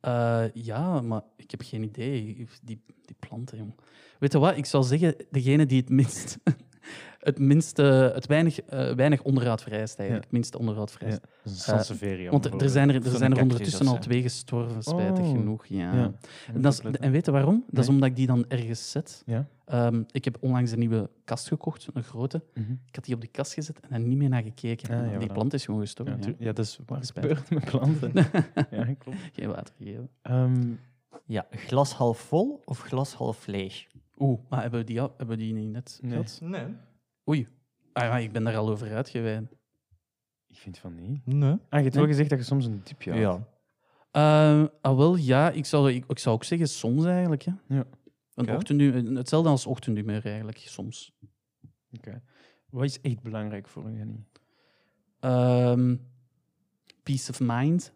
S2: Eh, ja, maar ik heb geen idee. Die, die planten, jong. Weet je wat? Ik zou zeggen, degene die het minst het, minste, het weinig, eh, weinig onderraad vereist eigenlijk.
S3: Ja.
S2: Het minste onderraad vereist.
S3: Dat is een Sansevieria.
S2: Eh, Want er- er zijn er, er,
S4: Zo'n
S2: zijn er
S4: cactus
S2: ondertussen
S4: of
S2: al
S4: zo.
S2: twee gestorven, spijtig
S3: Oh.
S2: genoeg. Ja.
S3: Ja.
S2: En, dat is- en weet je waarom? Dat is
S3: Nee.
S2: omdat ik die dan ergens zet.
S3: Ja.
S2: Ehm, ik heb onlangs een nieuwe kast gekocht, een grote.
S3: Mhm.
S2: Ik had die op de kast gezet en daar niet meer naar gekeken.
S3: Ah,
S2: En
S3: ja,
S2: die
S3: voilà.
S2: plant is gewoon
S3: Ja,
S2: gestorven. Ja,
S3: tu- ja, dat is waar het
S2: Spijtig.
S3: gebeurt met planten. ja, klopt.
S2: Geen water gegeven.
S3: Ehm,
S4: Ja, glas half vol of glas half leeg?
S2: Oeh, maar hebben we die, al- hebben we die niet net
S3: Nee.
S2: gehad?
S4: Nee.
S2: Oei. Ah, ja, ik ben daar al over uitgeweid.
S3: ik vind van niet.
S4: Nee?
S3: Ah, je hebt
S2: Nee.
S3: wel gezegd dat je soms een diepje
S4: Ja.
S3: had.
S2: Eh, ah, wel, ja. Ik zou, ik, ik zou ook zeggen soms eigenlijk. Hè.
S3: Ja.
S2: Een
S3: Ja.
S2: ochtendu- een- hetzelfde als ochtendhumeur eigenlijk, soms.
S3: Wat is echt belangrijk voor u, Jenny?
S2: Ehm, peace of mind.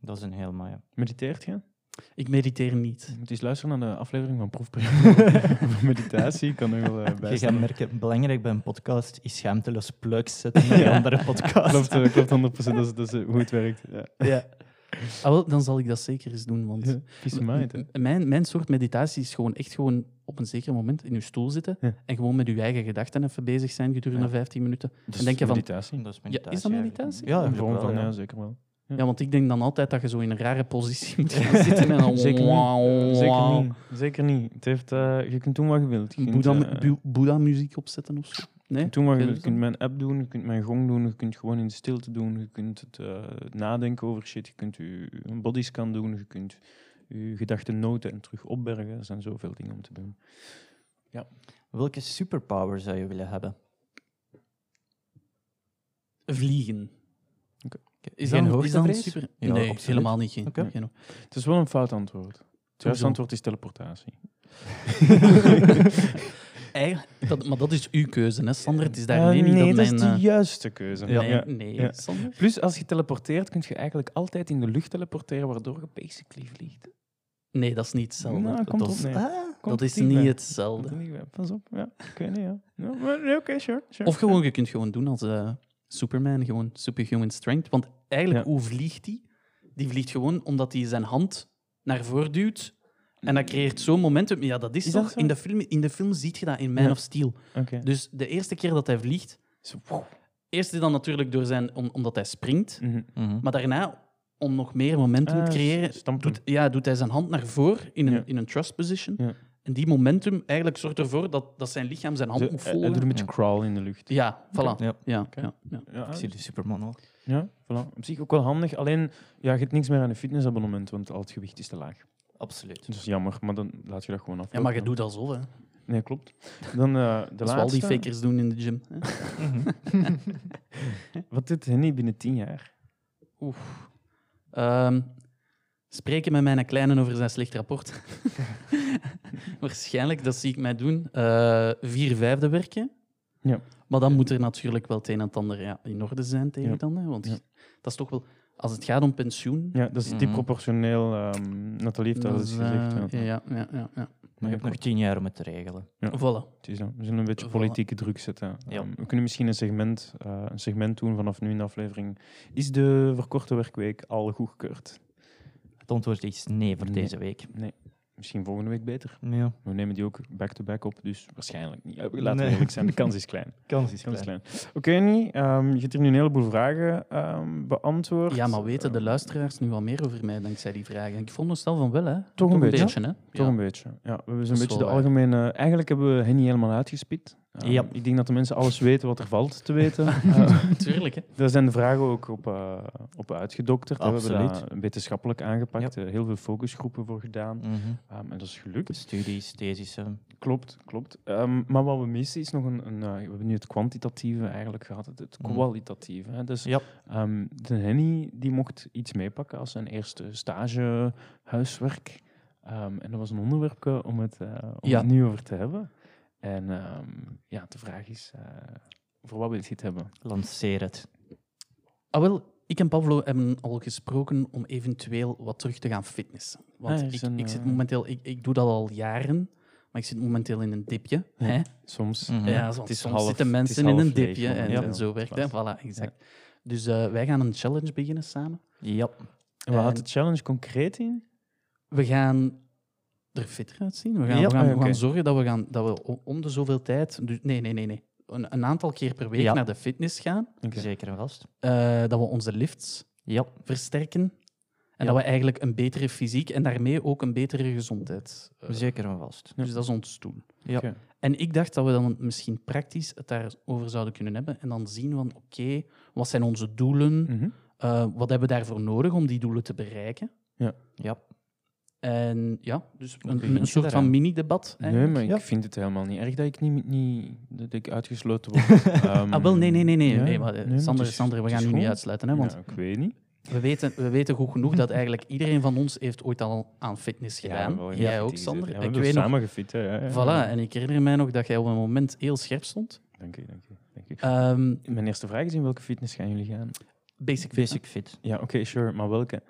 S4: Dat is een heel mooie.
S3: Mediteert je?
S2: Ik mediteer niet.
S3: Je moet eens luisteren naar de aflevering van Proefperiode over meditatie. Ik kan er wel eh, bij
S4: Je gaat
S3: staan.
S4: merken, belangrijk bij een podcast is schaamteloos plugs zetten in een andere podcast.
S3: Klopt, eh, klopt 100%. Dat is, dat is hoe het werkt. Ja.
S2: Ja. Ah, wel, dan zal ik dat zeker eens doen, want...
S3: Ja, Peace of mind, hè.
S2: M- Mijn, mijn soort meditatie is gewoon echt gewoon op een zeker moment in je stoel zitten
S3: Ja.
S2: en gewoon met je eigen gedachten even bezig zijn gedurende
S3: Ja.
S2: 15 minuten.
S3: Dat
S2: denk je van-
S3: meditatie.
S4: Dat is,
S2: Dus Ja, is dat meditatie?
S4: Ja,
S3: Een
S4: eigenlijk
S3: vorm
S4: wel,
S3: van, eh,
S4: ja.
S3: ja, zeker wel. Ja.
S2: Ja, want ik denk dan altijd dat je zo in een rare positie moet gaan zitten en dan...
S3: Zeker niet. Zeker niet. Zeker niet. Het heeft, eh, je kunt doen wat je wilt. Je kunt,
S2: Boeddha,
S3: eh,
S2: bu- Boeddha-muziek opzetten of zo.
S3: je
S2: Nee?
S3: kunt doen wat je
S2: Ja,
S3: wilt. Je
S2: dat is
S3: kunt mijn app doen, je kunt mijn gong doen, je kunt gewoon in de stilte doen, je kunt het eh, nadenken over shit, je kunt je, een bodyscan doen, je kunt je gedachten noten en terug opbergen. Er zijn zoveel dingen om te doen.
S4: Welke superpower zou je willen hebben?
S2: Vliegen.
S3: Oké.
S2: Is
S4: Geen
S2: dat, is dat een
S4: hoogtevrees?
S2: super...
S4: Ja,
S2: nee,
S4: absoluut.
S2: helemaal niet. Geen,
S4: Oké.
S2: geen-
S3: Het is wel een fout antwoord. Het juiste
S2: Hoezo?
S3: antwoord is teleportatie.
S2: Eigenlijk, dat, maar dat is uw keuze, hè, Sander. Het is daarmee
S3: nee, dat
S2: niet dat mijn...
S3: is de
S2: eh,
S3: juiste keuze.
S2: nee,
S3: Ja.
S2: nee,
S3: Ja.
S2: Sander.
S3: Plus, als je teleporteert, kun je eigenlijk altijd in de lucht teleporteren, waardoor je basically vliegt.
S2: Nee, dat is niet hetzelfde.
S3: Nou,
S2: Dat
S3: komt
S2: is-
S3: op neer.
S4: Ah,
S3: Komt
S2: dat is
S3: dichtbij.
S2: niet
S3: Komt
S2: hetzelfde.
S3: er niet bij. Pas op, ja. Ik weet niet, ja. Ja, maar- nee, Oké, sure, sure.
S2: Of gewoon, je kunt gewoon doen als eh, Superman, gewoon superhuman strength. Want eigenlijk,
S3: Ja.
S2: hoe vliegt die? Die vliegt gewoon omdat hij zijn hand naar voren duwt. En dat creëert zo'n momentum. Ja, dat is,
S3: Is dat
S2: toch...
S3: zo?
S2: in, de film, in de film ziet je dat in Man
S3: Ja.
S2: of Steel.
S3: Oké.
S2: Dus de eerste keer dat hij vliegt...
S3: Zo, wow.
S2: Eerst is dan natuurlijk door zijn, om- omdat hij springt.
S3: Mhm.
S4: mhm.
S2: Maar daarna, om nog meer momentum
S3: Ah,
S2: te creëren,
S3: stampen.
S2: doet, ja, doet hij zijn hand naar voren in een,
S3: Ja.
S2: in een trust position.
S3: Ja.
S2: En die momentum eigenlijk zorgt ervoor dat, dat zijn lichaam zijn hand
S3: Zo, eh,
S2: moet
S3: hij- Hij
S2: volgen.
S3: doet een beetje
S4: Ja.
S3: crawl in de lucht.
S2: Ja, voilà.
S4: Ja.
S2: Ja,
S3: Oké.
S2: ja, ja.
S3: Ja,
S4: Ik zie de Superman al.
S3: ja, voilà. Op zich ook wel handig. Alleen, ja, je hebt niks meer aan je fitnessabonnement, want al het gewicht is te laag.
S4: Absoluut.
S3: Dat is jammer, maar dan laat je dat gewoon af.
S2: ja, maar je doet alsof, hè.
S3: Nee, klopt. Dan eh, de
S2: Dat is wel die
S3: laatste.
S2: fakers doen in de gym. Hè.
S3: Wat doet Henny binnen tien jaar?
S2: Ehm, spreken met mijn kleinen over zijn slecht rapport. Waarschijnlijk, dat zie ik mij doen. Eh, vier vijfde werken.
S3: Ja.
S2: Maar dan moet er natuurlijk wel het een en het ander ja, in orde zijn tegen
S3: Ja.
S2: dan. Hè, want
S3: Ja.
S2: dat is toch wel... Als het gaat om pensioen...
S3: Ja, dat is die
S4: Mhm.
S3: proportioneel. ehm Nathalie heeft dat al
S2: dat
S3: eens
S2: is,
S3: gezegd. ja.
S2: eh, ja, ja, ja, ja.
S4: Maar je hebt nog tien jaar om het te regelen.
S3: Ja.
S2: Voilà.
S3: Het is dan. We zullen een beetje
S2: Voilà.
S3: politieke druk zetten.
S4: Ja.
S3: Ehm, we kunnen misschien een segment, eh, een segment doen vanaf nu in de aflevering. Is de verkorte werkweek al goedgekeurd?
S4: Het antwoord is nee voor
S3: Nee.
S4: deze week.
S3: Misschien volgende week beter.
S4: Ja,
S3: We nemen die ook back-to-back op, dus waarschijnlijk niet. Eh, Laten we
S4: Nee.
S3: eerlijk zijn, de kans is klein.
S4: kans is
S3: De kans is klein. Oké, Annie, ehm, je hebt hier nu een heleboel vragen ehm, beantwoord.
S2: Ja, maar weten de
S3: Ehm,
S2: luisters nu al meer over mij dankzij die vragen? Ik vond het snel van wel, hè? Toch,
S3: een beetje.
S2: hè?
S3: Eh, Toch
S2: Ja.
S3: een beetje. Ja, we hebben zo'n
S2: is
S3: beetje de
S2: wel waar.
S3: algemene. Eigenlijk hebben we hen niet helemaal uitgespit. Ehm,
S4: Ja.
S3: Ik denk dat de mensen alles weten wat er valt te weten.
S2: Tuurlijk, hè?
S3: Daar zijn de vragen ook op, eh, op uitgedokterd. hè. We hebben
S4: Absoluut.
S3: dat wetenschappelijk aangepakt. eh, heel veel focusgroepen voor gedaan.
S4: Mhm.
S3: Ehm, en dat is gelukt.
S4: Studies, thesissen.
S3: Klopt, klopt. Ehm, maar wat we missen is nog een... een eh, we hebben nu het kwantitatieve eigenlijk gehad. Het, het
S4: Mhm.
S3: kwalitatieve. Hè. Dus
S4: Ja.
S3: ehm, de Henny die mocht iets meepakken als zijn eerste stage huiswerk. Ehm, en dat was een onderwerp eh, om, het, eh, om
S2: Ja.
S3: het nu over te hebben. En ehm, ja, de vraag is... eh, voor wat wil je het hebben?
S4: Lanceer het.
S2: Ah, wel, ik en Pablo hebben al gesproken om eventueel wat terug te gaan fitnessen. Want
S3: Ah, er
S2: ik,
S3: zijn,
S2: ik zit
S3: eh,
S2: momenteel, ik, ik doe dat al jaren, maar ik zit momenteel in een dipje. Hè?
S3: Soms...
S4: Mhm.
S2: Ja, want
S3: het is
S2: soms
S3: half-
S2: zitten
S3: het is
S2: mensen in een
S3: half leeg
S2: dipje en,
S3: momenteel.
S2: en zo werkt het. Voilà, exact. Dus eh, wij gaan een challenge beginnen samen.
S4: Ja.
S3: En waar houdt
S2: En-
S3: de challenge concreet in?
S2: We gaan er fitter uitzien. We gaan,
S4: Ja.
S2: we gaan,
S3: Ah,
S2: we gaan
S3: oké.
S2: zorgen dat we, gaan, dat we o- om de zoveel tijd... Dus, nee, nee, nee. nee. Een, een aantal keer per week
S4: Ja.
S2: naar de fitness gaan.
S3: Oké.
S4: Zeker en vast.
S2: eh, dat we onze lifts
S4: Ja,
S2: versterken. En
S4: Ja.
S2: dat we eigenlijk een betere fysiek en daarmee ook een betere gezondheid. eh,
S4: zeker en vast.
S2: Dus dat is ons doel.
S4: Ja.
S3: Oké.
S2: En ik dacht dat we dan misschien praktisch het daarover zouden kunnen hebben. En dan zien van, oké, wat zijn onze doelen?
S3: Mhm.
S2: Eh, wat hebben we daarvoor nodig om die doelen te bereiken?
S4: Ja.
S2: En ja, dus een,
S4: begin
S2: een,
S4: je
S2: soort van
S4: daaraan?
S2: mini-debat.
S3: Nee,
S2: eigenlijk.
S3: maar ik
S4: Ja.
S3: vind het helemaal niet erg dat ik, niet, niet, dat ik uitgesloten word. Ehm,
S2: Ah, wel, nee, nee, nee. nee.
S3: ja,
S2: nee, maar, eh,
S3: nee, maar het
S2: Sander,
S3: is-
S2: Sander, we
S3: het
S2: gaan
S3: is
S2: u niet
S3: gewoon-
S2: uitsluiten. Hè, want
S3: Ja, ik weet niet.
S2: we, weten, we weten goed genoeg dat eigenlijk iedereen van ons heeft ooit al aan fitness gedaan.
S3: wel,
S2: jij
S3: fit
S2: ook,
S3: is
S2: Sander.
S3: het. Ja, we
S2: ik
S3: hebben
S2: weet nog...
S3: samen gefit, hè. Ja, ja,
S2: Voilà,
S3: ja.
S2: en ik herinner mij nog dat jij op een moment heel scherp stond.
S3: Dank u, dank u. Dank u.
S2: Ehm,
S3: Mijn eerste vraag is, in welke fitness gaan jullie gaan?
S2: basic fit.
S4: Basic fit.
S3: Ja, oké, sure, maar welke?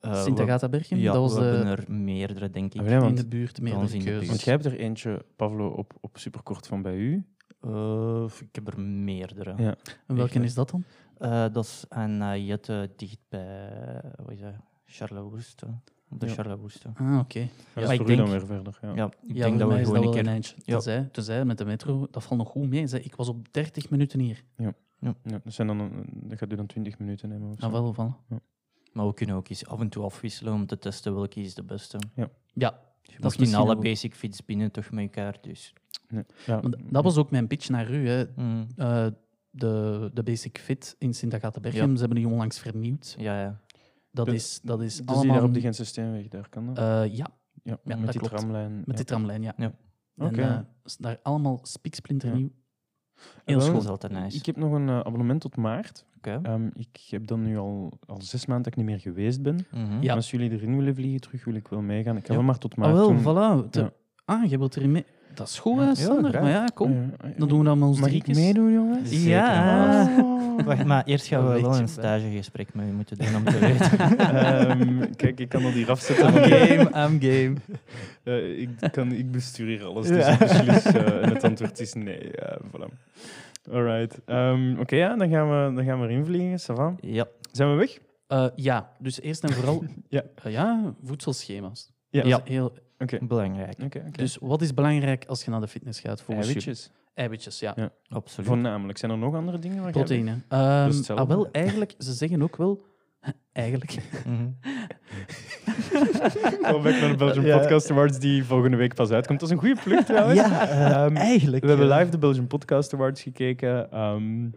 S4: Eh,
S2: Sint
S4: we-
S2: Agatha Bergen,
S4: Ja,
S2: dat was
S4: we
S2: de,
S4: hebben eh, er meerdere, denk ik.
S3: Ah, ja,
S2: in
S3: want,
S2: de buurt meer
S4: ons in de
S2: keuze.
S4: buurt.
S3: want jij hebt er eentje, Pavlo, op, op superkort van bij u.
S4: Eh, ik heb er meerdere.
S3: Ja.
S2: En welke is dat dan?
S4: Eh, dat is aan eh, Jette dicht bij, eh, hoe is dat, Charlevoix-Woeste. Op
S3: Ja.
S4: de ja. Charlevoix-Woeste.
S2: Ah, oké.
S3: Dat
S4: maar
S3: is Dus
S4: ik
S3: voor u dan
S4: denk-
S3: weer verder. Ja.
S4: Ja, ik
S2: Ja,
S4: denk
S2: voor
S4: dat
S2: mij
S4: we
S2: is dat
S4: gewoon een
S2: wel
S4: keer...
S2: een eindje.
S4: Ja.
S2: Tenzij, tenzij met de metro, dat valt nog goed mee. Zei, ik was op 30 minuten hier.
S3: Ja, dat, zijn dan, een- dat gaat u dan 20 minuten nemen of zo.
S2: Nou, wel van.
S4: Maar we kunnen ook eens af en toe afwisselen om te testen welke is de beste.
S2: Ja, is
S4: Je mocht niet
S2: misschien
S4: alle
S2: ook-
S4: basic fits binnen toch met elkaar, dus...
S3: Nee. Ja.
S2: want dat was ook mijn pitch naar u. Hè.
S4: Mm.
S2: Eh, de, de Basic Fit in sint agatha bergen
S4: Ja.
S2: ze hebben die onlangs vernieuwd.
S4: Ja, ja.
S2: Dat
S3: Dus-
S2: is, dat is
S3: Dus die
S2: allemaal...
S3: daar op de Gentse Steenweg, daar kan dat?
S2: Eh, ja,
S3: ja,
S2: ja,
S3: met
S2: dat
S3: die
S2: klopt.
S3: tramlijn.
S2: met die tramlijn, ja.
S4: Ja.
S2: En
S3: Oké.
S2: eh, is daar allemaal spiksplinternieuw. Heel
S3: Wel,
S4: Dat
S2: schoon.
S4: is altijd nice.
S3: Ik heb nog een eh, abonnement tot maart.
S4: Oké.
S3: Ehm, ik heb dan nu al, al zes maanden dat ik niet meer geweest ben.
S4: Mhm.
S2: Ja.
S3: En Als jullie erin willen vliegen terug, wil ik wel meegaan. Ik ga
S2: Ja.
S3: wel maar tot
S2: Ah,
S3: maart
S2: wel,
S3: doen.
S2: voilà. Te-
S3: Ja.
S2: Ah, je wilt erin mee. Dat is goed, hè,
S3: Ja,
S2: Sander.
S3: graag.
S2: maar ja, kom.
S3: Ja, ja.
S2: Dan doen we dat met ons
S3: Mag ik
S2: driekjes.
S3: meedoen, jongens?
S4: Zeker.
S2: Ja. Ah.
S3: Oh.
S4: Wacht, maar eerst gaan we
S2: Weet
S4: wel
S2: je
S4: een
S2: wel.
S4: stagegesprek met u moeten doen om te weten.
S3: Ehm, kijk, ik kan dat hier afzetten.
S2: I'm game, I'm game.
S3: Eh, ik, kan, ik bestuur hier alles, dus ik beslis. eh, en het antwoord is nee. Ja, voilà. Alright. Ehm, Oké, ja, dan gaan we, dan gaan we erin vliegen. Ça va?
S4: ja,
S3: Zijn we weg?
S2: Eh, ja, dus eerst en vooral
S3: Ja.
S2: Eh, ja, voedselschema's.
S3: Ja.
S2: Dat is heel,
S3: Oké.
S4: belangrijk.
S3: Oké, oké.
S2: Dus wat is belangrijk als je naar de fitness gaat? Volgens jullie?
S3: eiwitjes.
S2: Eiwitjes, ja.
S3: Ja.
S4: Absoluut.
S3: Voornamelijk. Zijn er nog andere dingen? waar jij-
S2: Proteïne. Ehm
S3: is hetzelfde.
S2: ah, wel, eigenlijk, ze zeggen ook wel... Eigenlijk.
S4: Mhm.
S3: Welkom naar de Belgian
S4: Ja.
S3: Podcast Awards die volgende week pas uitkomt. Dat is een goede plug trouwens.
S4: Ja, eh,
S3: Ehm,
S4: eigenlijk.
S3: We hebben
S4: eh,
S3: live de Belgian Podcast Awards gekeken. ehm,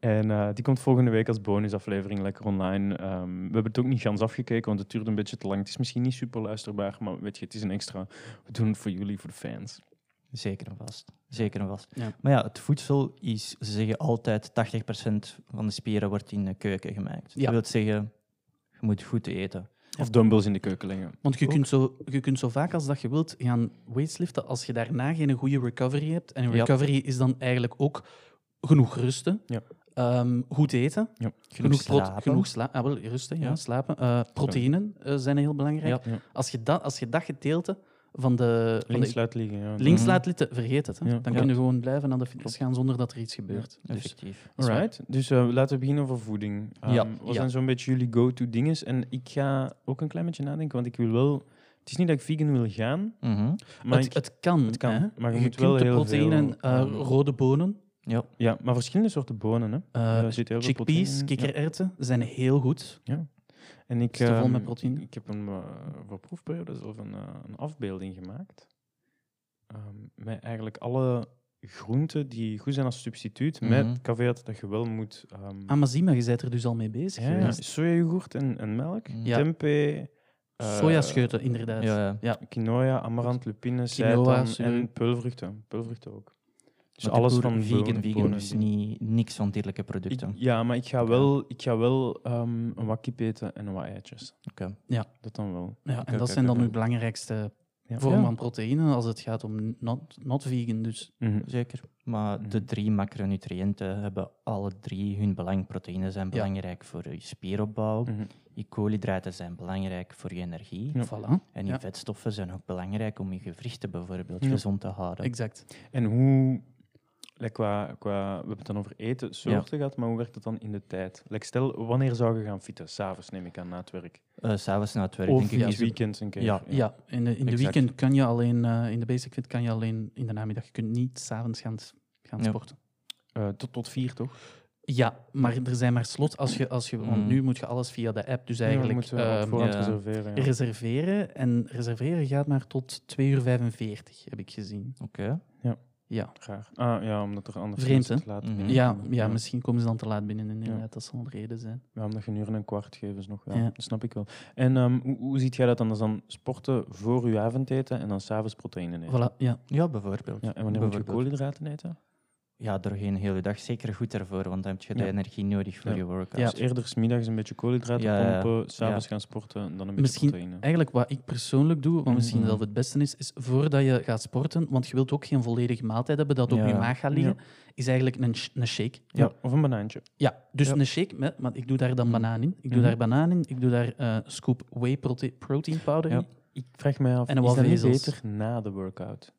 S3: en eh, die komt volgende week als bonusaflevering lekker online. Ehm, we hebben het ook niet gans afgekeken, want het duurde een beetje te lang. Het is misschien niet super luisterbaar, maar weet je, het is een extra. We doen het voor jullie, voor de fans.
S4: Zeker en vast. Zeker en vast.
S2: Ja.
S4: Maar ja, het voedsel is, ze zeggen altijd, 80% van de spieren wordt in de keuken gemaakt.
S2: Ja.
S4: Dat wil zeggen, je moet goed eten.
S3: Of dumbbells in de keuken leggen.
S2: Want je kunt, zo, je kunt zo vaak als dat je wilt gaan weightliften als je daarna geen goede recovery hebt. En een
S4: Ja.
S2: recovery is dan eigenlijk ook genoeg rusten,
S3: Ja.
S2: ehm, goed eten,
S3: Ja.
S2: genoeg, pro-
S4: slapen.
S2: genoeg sla ah, wel, rusten, ja,
S3: Ja.
S2: slapen. Eh, proteïnen eh, zijn heel belangrijk.
S3: Ja. Ja.
S2: Als, je dat, als je dat gedeelte van de, van
S3: Links
S2: de
S3: laat liggen. Ja.
S2: links
S4: Mhm.
S2: laat zitten, vergeet het. Hè.
S3: Ja,
S2: Dan kun
S3: klopt.
S2: je gewoon blijven naar de fitness gaan zonder dat er iets gebeurt. Dus,
S4: Effectief.
S3: Alright, dus eh, laten we beginnen over voeding. Ehm,
S2: Ja,
S3: Wat
S2: ja.
S3: zijn zo'n beetje jullie go-to dinges? En ik ga ook een klein beetje nadenken, want ik wil wel... Het is niet dat ik vegan wil gaan,
S4: Mhm.
S3: maar
S2: het,
S3: ik-
S2: het kan,
S3: het kan,
S2: hè.
S3: maar je moet
S2: kunt
S3: wel
S2: de
S3: heel
S2: proteïnen,
S3: veel,
S2: eh,
S3: ehm,
S2: rode bonen,
S4: Ja.
S3: Ja, maar verschillende soorten bonen. Hè.
S2: eh,
S3: Daar zit heel veel
S2: chickpeas,
S3: proteïne in. Ja.
S2: kikkererwten zijn heel goed.
S3: En ik,
S2: Is het vol
S3: ehm,
S2: met proteïne?
S3: ik heb een eh, voor proefperiode zelf een, eh, een afbeelding gemaakt. Ehm, met eigenlijk alle groenten die goed zijn als substituut,
S4: Mhm.
S3: met caveat dat je wel moet... ehm
S2: Ah, maar zie maar, je bent er dus al mee bezig
S3: ja,
S2: geweest.
S3: sojayoghurt en, en melk,
S4: Mhm.
S2: Ja.
S3: tempeh, eh,
S2: Sojascheuten, inderdaad.
S4: Ja, ja.
S3: quinoa, amarant, lupine,
S2: Quinoa,
S3: seitan
S2: soja-
S3: en peulvruchten. Peulvruchten ook. Dus
S4: Maar
S3: alles
S4: de boer-
S3: van
S4: vegan,
S3: bonen,
S4: vegan,
S3: bonen.
S4: dus niet, niks van dierlijke producten.
S3: Ik- ja, maar ik ga wel, ik ga wel ehm, een wat kip eten en wat eitjes.
S4: Oké.
S2: Ja.
S3: Dat dan wel.
S2: Ja, en
S3: Oké,
S2: dat
S3: oké,
S2: zijn dan
S3: oké.
S2: uw belangrijkste
S3: Ja.
S2: vormen
S3: Ja.
S2: van proteïne als het gaat om not, not vegan. Dus
S3: Mhm.
S4: Zeker. Maar de drie macronutriënten hebben alle drie hun belang. Proteïnen zijn belangrijk voor je spieropbouw.
S3: Mhm.
S4: Je koolhydraten zijn belangrijk voor je energie.
S3: Ja.
S2: voilà,
S4: En die
S2: Ja.
S4: vetstoffen zijn ook belangrijk om je gewrichten bijvoorbeeld
S3: Ja.
S4: gezond te houden.
S2: exact.
S3: En hoe like qua, qua, we hebben het dan over eten, soorten gehad, maar hoe werkt het dan in de tijd? Like stel, wanneer zou je gaan fietsen? S'avonds neem ik aan, na het werk.
S4: Eh, S'avonds na het werk,
S3: Of
S4: denk ik.
S3: in
S2: ja,
S3: het
S2: zo-
S3: weekend een keer.
S4: Ja,
S2: Ja, in de, in de
S3: Exact.
S2: weekend kan je alleen, eh, in de basic fit kan je alleen in de namiddag. Je kunt niet s'avonds gaan, s- gaan
S4: Ja.
S2: sporten.
S3: Eh, tot, tot vier, toch?
S2: Ja, maar er zijn maar slots als je, als je want
S4: Mm.
S2: nu moet je alles via de app, dus
S3: ja,
S2: eigenlijk
S3: moeten we op
S2: ehm,
S3: voorhand
S4: ja.
S3: reserveren. ja.
S2: reserveren. En reserveren gaat maar tot 2 uur 45, heb ik gezien.
S4: Oké.
S2: Ja,
S3: Graag. Ah, ja, omdat er anders
S2: Vreemd,
S3: mensen te laat
S4: Mhm.
S3: binnen
S2: ja,
S3: komen.
S2: ja misschien komen ze dan te laat binnen, inderdaad. Dat zal een reden zijn.
S3: Ja, omdat je een uur en een kwart geven ze nog. Ja,
S2: Ja.
S3: Dat snap ik wel. En ehm, hoe, hoe ziet jij dat dan? Dat is dan sporten voor je avondeten en dan s'avonds proteïne eten?
S2: Voilà, ja.
S4: Ja, bijvoorbeeld.
S3: Ja, en wanneer moet je
S4: Bijvoorbeeld.
S3: koolhydraten eten?
S4: Ja, doorheen heel je dag. Zeker goed daarvoor, want dan heb je de
S3: Ja.
S4: energie nodig voor
S3: Ja.
S4: je workout.
S2: Ja.
S3: Dus eerder 's middags een beetje koolhydraten
S4: Ja, ja, ja.
S3: pompen, s'avonds
S4: Ja.
S3: gaan sporten en dan een beetje
S2: Misschien-
S3: proteïne.
S2: Eigenlijk wat ik persoonlijk doe, wat misschien
S4: Mhm.
S2: zelf het beste is, is voordat je gaat sporten, want je wilt ook geen volledige maaltijd hebben dat op
S4: Ja.
S2: je maag gaat liggen, is eigenlijk een, sh- een shake.
S3: Ja. Of een banaantje.
S2: Ja, dus
S3: Ja.
S2: een shake, met, maar ik doe daar dan
S4: Mm.
S2: banaan in. Ik doe
S3: Mhm.
S2: daar banaan in, ik doe daar eh scoop whey prote- protein powder
S3: Ja.
S2: in.
S3: Ik vraag mij af,
S2: En een
S3: is dat niet
S2: walvezels.
S3: beter na de workout?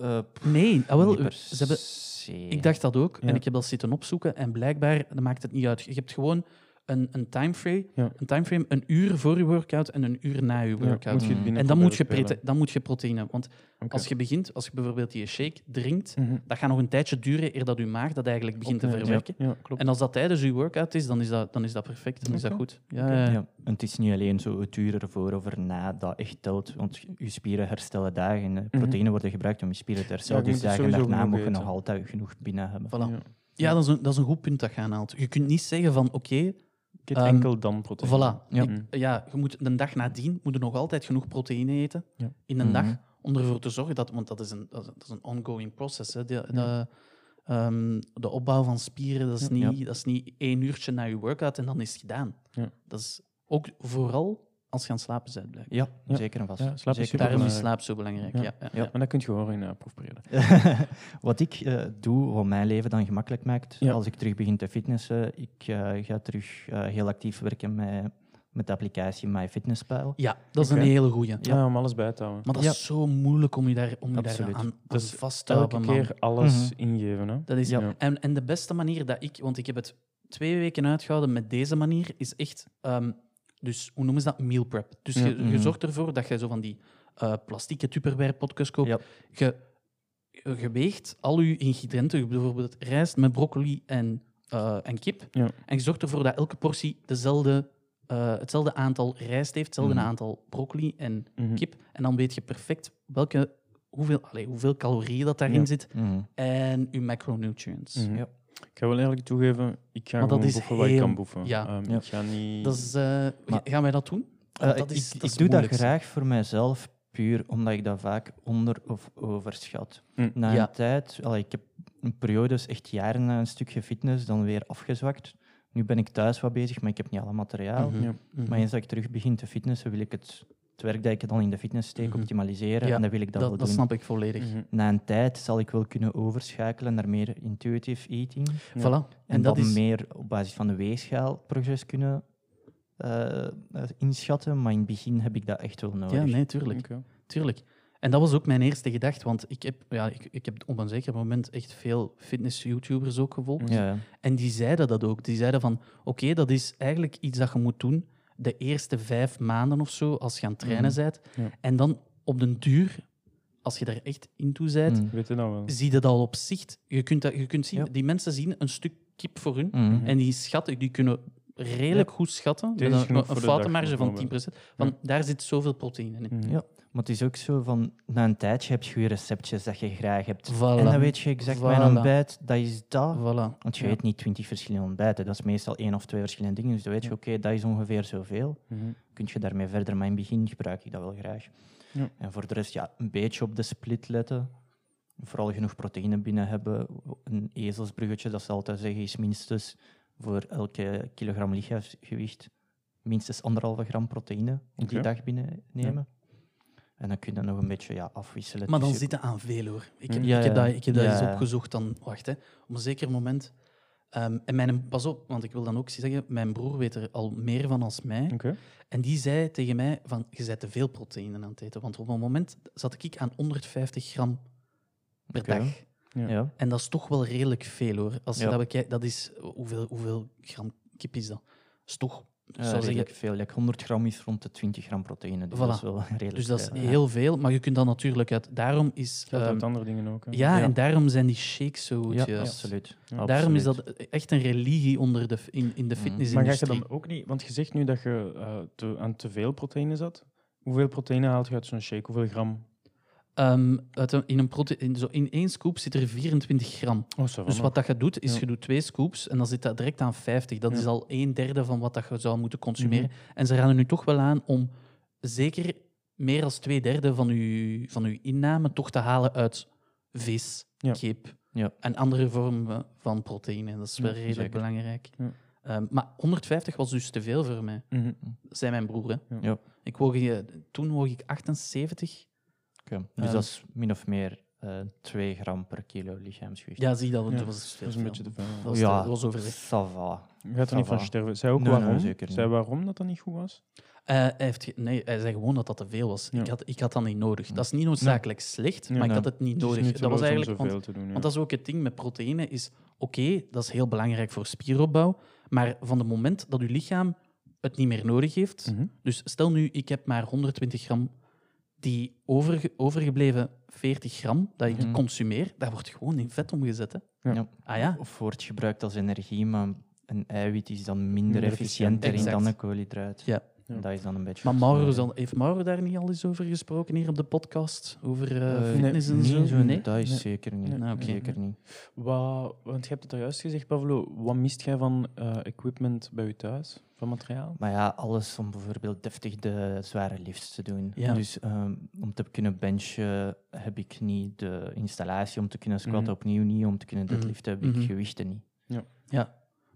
S4: Eh, pff,
S2: Nee, ah, wel,
S4: niet per
S2: ze hebben,
S4: se.
S2: ik dacht dat ook.
S3: Ja.
S2: En ik heb dat zitten opzoeken. En blijkbaar dat maakt het niet uit. Je hebt gewoon een, een, timeframe,
S3: Ja.
S2: een timeframe, een uur voor je workout en een uur na je
S3: Ja,
S2: workout.
S3: moet je het
S4: Mm.
S3: binnen
S2: En dan moet, je
S3: proberen
S2: prote- dan moet je proteïne. Want
S3: spelen. Oké.
S2: als je begint, als je bijvoorbeeld die shake drinkt,
S3: Mhm.
S2: dat gaat nog een tijdje duren eer dat je maag dat eigenlijk begint te
S3: Opnemen.
S2: verwerken.
S3: Ja, klopt.
S2: En als dat tijdens je workout is, dan is dat, dan is dat perfect. Dan is dat
S3: Oké.
S2: goed. Ja,
S3: Oké.
S2: ja, ja.
S4: Ja, en het is niet alleen zo het uur ervoor of erna dat echt telt, want je spieren herstellen dagen. eh, Proteïnen worden gebruikt om je spieren te herstellen,
S3: Mhm. Ja, je
S4: dus
S3: moet het
S4: dagen
S3: sowieso
S4: daarna
S3: genoeg
S4: mogen je nog
S3: eten.
S4: altijd genoeg binnen hebben.
S2: Voilà.
S3: Ja.
S2: Ja, dat is, een, dat is een goed punt dat je aanhaalt. Je kunt niet zeggen van, oké,
S3: Ik eet
S2: Ehm,
S3: enkel dan proteïne.
S2: voilà.
S4: Ja.
S2: Ik- ja, je moet de dag nadien moet je nog altijd genoeg proteïne eten
S3: Ja.
S2: in een
S4: Mhm.
S2: dag, om ervoor te zorgen dat... Want dat is een, dat is dat is een ongoing process. Hè. De, de, ehm, de opbouw van spieren, dat is, niet, dat is niet één uurtje na je workout en dan is het gedaan.
S3: Ja.
S2: Dat is ook vooral als je aan het slapen bent, blijkbaar.
S4: Ja,
S3: Ja.
S4: zeker en vast.
S3: Ja, slaap is
S4: Zeker.
S2: Daarom is
S3: Superbelangrijk.
S2: slaap zo belangrijk.
S3: Ja.
S2: Ja. Ja,
S4: Ja.
S2: ja.
S3: Maar dat kun je horen in eh, proefperioden.
S4: wat ik eh, doe, wat mijn leven dan gemakkelijk maakt,
S3: Ja.
S4: als ik terug begin te fitnessen, ik eh, ga terug eh, heel actief werken met, met de applicatie MyFitnessPal.
S2: Ja, dat is
S3: Oké.
S2: een hele goeie.
S3: Ja, om alles bij te houden.
S2: Maar dat is zo moeilijk om je daar, om je daar aan,
S4: Absoluut.
S2: aan
S3: Dat is
S2: vast te
S3: Elke
S2: houden, man.
S3: keer alles
S4: Mhm.
S3: ingeven, hè?
S2: Dat is,
S3: Ja. Ja.
S2: en, en de beste manier dat ik, want ik heb het twee weken uitgehouden met deze manier, is echt, ehm, dus hoe noemen ze dat? Meal prep. Dus
S3: Ja.
S2: je, je
S4: Mhm.
S2: zorgt ervoor dat je zo van die eh plastieke Tupperware-potjes koopt.
S4: Ja.
S2: Je, je weegt al je ingrediënten, bijvoorbeeld rijst met broccoli en, eh, en kip.
S3: Ja.
S2: En je zorgt ervoor dat elke portie dezelfde, eh, hetzelfde aantal rijst heeft, hetzelfde
S4: Mhm.
S2: aantal broccoli en
S3: Mhm.
S2: kip. En dan weet je perfect welke, hoeveel, allee, hoeveel calorieën dat daarin
S3: Ja.
S2: zit
S4: Mhm.
S2: en uw macronutrients.
S3: Mhm.
S4: Ja.
S3: Ik ga wel eerlijk toegeven, ik ga
S2: Maar dat
S3: gewoon
S2: is
S3: boeven wat ik
S2: heel-
S3: kan boeven.
S2: ja.
S3: Ehm,
S4: Ja.
S3: Ik ga niet...
S2: Dat is, eh,
S4: Maar-
S2: gaan wij dat doen?
S4: Eh,
S2: Want dat is-
S4: ik
S2: dat is
S4: ik doe dat
S2: moeilijk.
S4: graag voor mijzelf, puur omdat ik dat vaak onder- of overschat.
S3: Hm.
S4: Na
S2: Mm, Ja.
S4: een tijd, allee, ik heb een periodes echt jaren na een stukje fitness, dan weer afgezwakt. Nu ben ik thuis wat bezig, maar ik heb niet alle materiaal.
S2: Mhm.
S3: Ja.
S2: Mhm.
S4: Maar eens dat ik terug begin te fitnessen, wil ik het, het werk dat ik dan in de fitness steek
S2: Mhm.
S4: optimaliseren.
S2: Ja,
S4: en dan wil ik dat,
S2: dat,
S4: wel
S2: dat
S4: doen.
S2: snap ik volledig.
S3: Mhm.
S4: Na een tijd zal ik wel kunnen overschakelen naar meer intuitive eating. Mhm. En,
S3: Ja.
S2: Voilà. En, dat
S4: dan
S2: is...
S4: meer op basis van de weegschaal het proces kunnen eh, eh, inschatten. Maar in het begin heb ik dat echt wel nodig.
S2: Ja, nee, tuurlijk.
S3: Oké.
S2: tuurlijk. En dat was ook mijn eerste gedachte, want ik heb, ja, ik, ik heb op een zeker moment echt veel fitness-YouTubers ook gevolgd.
S4: Ja, ja.
S2: En die zeiden dat ook. Die zeiden van, oké, dat is eigenlijk iets dat je moet doen de eerste vijf maanden of zo, als je aan het trainen
S4: Mhm.
S2: bent.
S3: Ja.
S2: En dan op den duur, als je daar echt in toe bent,
S4: Mm.
S3: Weet je dat wel?
S2: zie je dat al op zicht. Je kunt, dat, je kunt zien,
S4: Ja.
S2: die mensen zien een stuk kip voor hun.
S4: Mhm.
S2: En die schatten, die kunnen redelijk goed schatten.
S3: Deze
S2: Met
S3: is
S2: een,
S3: genoeg
S2: een
S3: voor de
S2: foutenmarge
S3: dag,
S2: van 10%.
S3: bijvoorbeeld.
S2: Van
S3: Ja.
S2: daar zit zoveel proteïne in.
S3: Mhm.
S4: Ja. Maar het is ook zo van, na een tijdje heb je je receptjes dat je graag hebt.
S2: Voilà.
S4: En dan weet je exact, mijn
S2: Voilà.
S4: ontbijt, dat is dat.
S2: Ah, Voilà.
S4: Want je
S2: Ja.
S4: weet niet twintig verschillende ontbijten. Dat is meestal één of twee verschillende dingen. Dus dan weet je,
S3: Ja.
S4: oké, dat is ongeveer zoveel.
S3: Mhm.
S4: Kun je daarmee verder? Maar in het begin gebruik ik dat wel graag.
S3: Ja.
S4: En voor de rest, ja, een beetje op de split letten. Vooral genoeg proteïne binnen hebben. Een ezelsbruggetje, dat ze altijd zeggen, is minstens voor elke kilogram lichaamsgewicht minstens anderhalve gram proteïne op die
S3: Oké.
S4: dag binnennemen. En dan kun je dat nog een beetje ja, afwisselen.
S2: Maar dan
S4: tussen-
S2: zit het aan veel hoor. Ik, heb-
S4: Ja,
S2: ik heb
S4: ja.
S2: dat, ik heb dat eens
S4: Ja.
S2: opgezocht. Dan, wacht, hè. op een zeker moment. ehm, en mijn, pas op, want ik wil dan ook zeggen, mijn broer weet er al meer van als mij.
S3: Oké.
S2: En die zei tegen mij van, je bent te veel proteïne aan het eten. Want op een moment zat ik aan 150 gram per
S4: Oké.
S2: dag.
S3: Ja.
S4: Ja.
S2: En dat is toch wel redelijk veel hoor. Als je
S4: Ja.
S2: dat bekijkt, dat is hoeveel, hoeveel gram kip is dat? Is toch?
S4: Eh,
S2: zou
S4: redelijk
S2: zeggen-
S4: veel. Like 100 gram is rond de 20 gram proteïne. Dus
S2: Voilà.
S4: dat is wel redelijk eh,
S2: Dus dat is
S4: veel, ja.
S2: heel veel, maar je kunt dat natuurlijk uit. Daarom is.
S3: Geldt
S2: ehm,
S3: uit andere dingen ook. hè.
S2: ja,
S4: Ja.
S2: en daarom zijn die shakes zo goed.
S4: Ja,
S2: juist.
S4: absoluut.
S3: Ja.
S2: Daarom is
S4: Absoluut.
S2: dat echt een religie onder de, f- in, in de
S4: Mm.
S3: Maar ga
S2: fitnessindustrie.
S3: je dan ook niet... Want je zegt nu dat je eh, te- aan te veel proteïne zat. Hoeveel proteïne haalt je uit zo'n shake? Hoeveel gram?
S2: Ehm, uit een- in, een prote- in, zo, in één scoop zit er 24 gram.
S3: Oh, ça va
S2: Dus
S3: nog.
S2: wat dat je doet, is
S3: Ja.
S2: je doet twee scoops en dan zit dat direct aan 50. Dat
S3: Ja. Mhm.
S2: is al een derde van wat dat je zou moeten consumeren. En ze raden nu toch wel aan om zeker meer dan twee derde van je, van uw inname toch te halen uit vis,
S3: Ja.
S2: kip
S4: Ja.
S2: en andere vormen van proteïne. Dat is wel
S3: Ja,
S2: redelijk
S4: zeker.
S2: belangrijk.
S3: Ja.
S2: Ehm, maar 150 was dus te veel voor mij,
S3: Mhm.
S2: zei mijn broer. Hè.
S3: Ja.
S4: Ja.
S2: Ik woog, eh, toen woog ik 78.
S4: Oké. Dus
S2: Ehm,
S4: dat is min of meer eh 2 gram per kilo lichaamsgewicht.
S2: Ja, zie dat, want
S3: Ja,
S2: dat was
S3: Dat
S2: veel.
S3: is een beetje te veel.
S2: dat
S3: ja.
S2: was,
S4: Ja.
S2: dat was overzicht.
S4: Ça va.
S3: Je gaat er niet
S4: Ça
S3: van
S4: va.
S3: sterven. Zij ook
S4: Nee, nee,
S3: waarom?
S4: zeker niet.
S3: Zij waarom dat dat niet goed was?
S2: Eh, hij, heeft ge- nee, hij zei gewoon dat dat te veel was.
S3: Ja.
S2: Ik, had, ik had dat niet nodig.
S4: Hm.
S2: Dat is niet noodzakelijk slecht,
S3: Nee,
S2: maar ik
S4: nee.
S2: had het niet
S3: Het is
S2: nodig.
S3: nutteloos
S2: dat was
S3: om
S2: eigenlijk, want,
S3: zoveel te doen, ja.
S2: want dat is ook het ding met proteïne, is oké, dat is heel belangrijk voor spieropbouw, maar van het moment dat uw lichaam het niet meer nodig heeft,
S3: Mhm.
S2: dus stel nu, ik heb maar 120 gram, die overge- overgebleven 40 gram dat ik
S4: Mhm.
S2: consumeer, dat wordt gewoon in vet omgezet. Hè?
S3: Ja.
S4: Ja.
S2: Ah ja,
S4: Of wordt gebruikt als energie, maar een eiwit is dan minder,
S3: Minder efficiënt.
S4: efficiënt erin
S2: Exact.
S4: dan een koolhydraat.
S2: Ja.
S3: Ja.
S4: Dat is dan een beetje...
S2: maar
S4: het
S2: Mauro,
S4: nadeel.
S2: zal- heeft Mauro daar niet al eens over gesproken hier op de podcast? Over eh,
S4: Eh,
S2: fitness en
S4: nee,
S2: zo?
S4: zo in detail
S3: Nee.
S4: zeker niet.
S3: Nee.
S2: Nou, oké.
S4: Zeker niet.
S3: Wat, want je hebt het al juist gezegd, Pavlo. Wat mist jij van eh, equipment bij je thuis? Van materiaal?
S4: Maar ja, alles om bijvoorbeeld deftig de zware lifts te doen.
S2: Ja.
S4: Dus ehm, om te kunnen benchen heb ik niet de installatie, om te kunnen squatten
S3: Mhm.
S4: opnieuw niet, om te kunnen
S2: Mhm.
S4: deadliften heb
S2: Mhm.
S4: ik gewichten niet.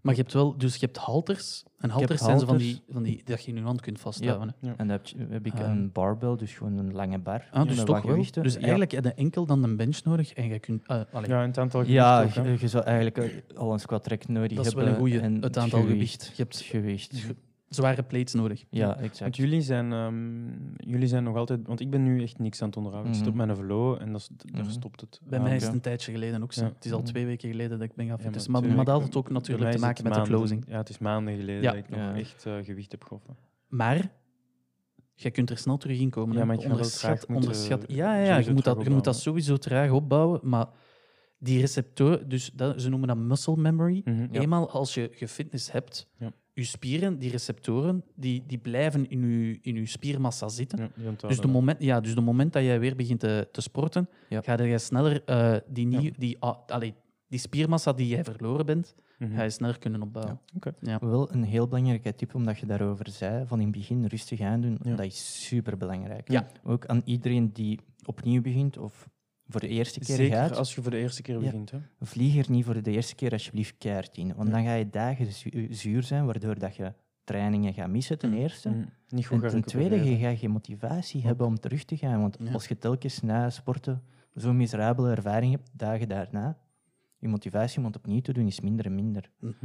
S2: Maar je hebt wel, dus je hebt halters. En halters zijn zo van die, van die dat je in je hand kunt vasthouden. hè.
S4: En dan heb, je- heb ik
S2: Ehm.
S4: een barbell, dus gewoon een lange bar.
S2: Ah, dus
S4: met
S2: toch
S4: wat
S2: wel.
S4: gewichten.
S2: Dus
S4: Ja.
S2: eigenlijk heb je enkel dan een bench nodig en je kunt... eh, allee,
S3: Ja, en het aantal
S4: Ja,
S3: gewicht ook, hè.
S4: je, je zou eigenlijk eh, al een squat rack nodig
S2: Dat is
S4: hebben.
S2: wel een goeie,
S4: en
S2: het aantal gewicht. dus Je hebt
S4: Het gewicht.
S2: ge- zware plates nodig.
S4: Ja,
S3: Want
S4: exact.
S3: jullie zijn, ehm, jullie zijn nog altijd... Want ik ben nu echt niks aan het onderhouden. Ik
S4: Mhm.
S3: zit op mijn velo en dat, is- d- daar
S4: Mhm.
S3: stopt het. Ah,
S2: Bij
S3: aan.
S2: mij is het
S4: oké.
S2: een tijdje geleden ook zo.
S3: Ja. Mhm.
S2: Het is al twee weken geleden dat ik ben gaan
S3: Ja,
S2: fitnessen.
S3: maar
S2: Maar, maar, dat
S3: natuurlijk,
S2: had het ook
S3: Bij
S2: natuurlijk
S3: mij
S2: te
S3: is
S2: maken
S3: het
S2: met de
S3: maanden-
S2: closing.
S3: Ja, het is maanden geleden
S2: Ja.
S3: dat ik nog
S4: Ja.
S3: echt eh, gewicht heb gegoten.
S2: Maar... Je kunt er snel terug in komen.
S3: Ja,
S2: hè.
S3: maar ik ga wel traag moeten-
S2: onderschat. Ja, ja, ja, je,
S3: sowieso
S2: moet dat,
S3: traag
S2: je moet dat
S3: opbouwen.
S2: sowieso traag opbouwen. Maar die receptoren, dus dat, ze noemen dat muscle memory.
S3: Mhm.
S4: Ja.
S2: Eenmaal als je gefitness hebt,
S3: Ja.
S2: je spieren, die receptoren, die, die blijven in je, in uw spiermassa zitten.
S3: Ja, die
S2: Dus
S3: onthouden
S2: de,
S3: dat.
S2: moment, ja, dus de moment dat jij weer begint te, te sporten,
S4: Ja.
S2: ga je sneller eh, die, nieuw,
S3: Ja.
S2: die, ah, allee, die spiermassa die jij verloren bent,
S3: Mhm.
S2: ga je sneller kunnen opbouwen.
S4: Wel een heel belangrijke tip, omdat je daarover zei, van in het begin rustig aandoen,
S3: Ja.
S4: dat is super belangrijk.
S2: Ja.
S4: Ook aan iedereen die opnieuw begint of voor de eerste keer
S3: Zeker
S4: gaat,
S3: als je voor de eerste keer
S4: Ja.
S3: begint. Hè?
S4: vlieg er niet voor de eerste keer alsjeblieft keihard in. Want
S3: Ja.
S4: dan ga je dagen zu- eh, zuur zijn, waardoor dat je trainingen gaat missen ten eerste.
S3: Mhm. Niet goed
S4: En
S3: gaan
S4: ten tweede,
S3: recupereren.
S4: je gaat geen motivatie hebben om terug te gaan. Want
S2: Ja.
S4: als je telkens na sporten zo'n miserabele ervaring hebt, dagen daarna, je motivatie om het opnieuw te doen is minder en minder.
S3: Mm,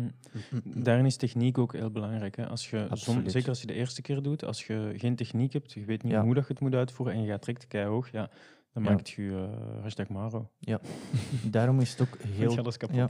S3: Daarin is techniek ook heel belangrijk. Hè? Als je som,
S4: Absoluut.
S3: zeker als je de eerste keer doet, als je geen techniek hebt, je weet niet
S4: Ja.
S3: hoe dat je het moet uitvoeren en je gaat direct kei hoog, ja, dan
S4: Ja.
S3: maakt je eh, hashtag Maro.
S4: Daarom is het ook heel
S3: Heel alles kapot.
S4: Ja.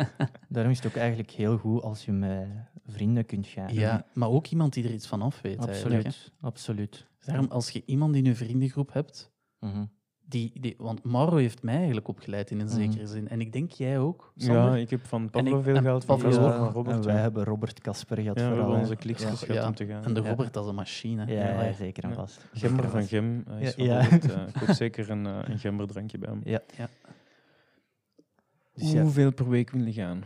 S4: Daarom is het ook eigenlijk heel goed als je met vrienden kunt gaan.
S2: Ja, maar ook iemand die er iets van af weet. eigenlijk, hè. Dus
S4: absoluut. absoluut.
S2: Daarom, als je iemand in je vriendengroep hebt,
S4: Mhm.
S2: die, die, want Mauro heeft mij eigenlijk opgeleid in een
S4: Mhm.
S2: zekere zin. En ik denk jij ook, Sander?
S3: Ja, ik heb van Pablo
S2: ik-
S3: veel
S2: en
S3: gehaald, van
S2: Pablo
S3: Casper,
S2: ook.
S3: van
S4: en
S3: Robert.
S4: Ah, wij
S3: ja.
S4: hebben Robert Casper gehad
S3: Ja, we
S4: vooral.
S3: hebben
S4: hè.
S3: onze kliks
S2: Ja,
S3: gehad
S2: ja.
S3: om te gaan.
S2: En de
S4: Ja.
S2: Robert als een machine.
S4: Ja, ja,
S2: Allee.
S4: zeker en
S3: Ja.
S4: vast.
S3: Gember
S4: Zeker en
S3: van
S4: vast.
S3: Gem. Hij is
S4: Ja,
S3: van
S4: ja.
S3: Robert, eh, ik koop zeker een, eh, een gemberdrankje bij hem.
S4: Ja.
S2: Ja.
S4: Dus ja.
S3: Hoeveel per week wil je gaan?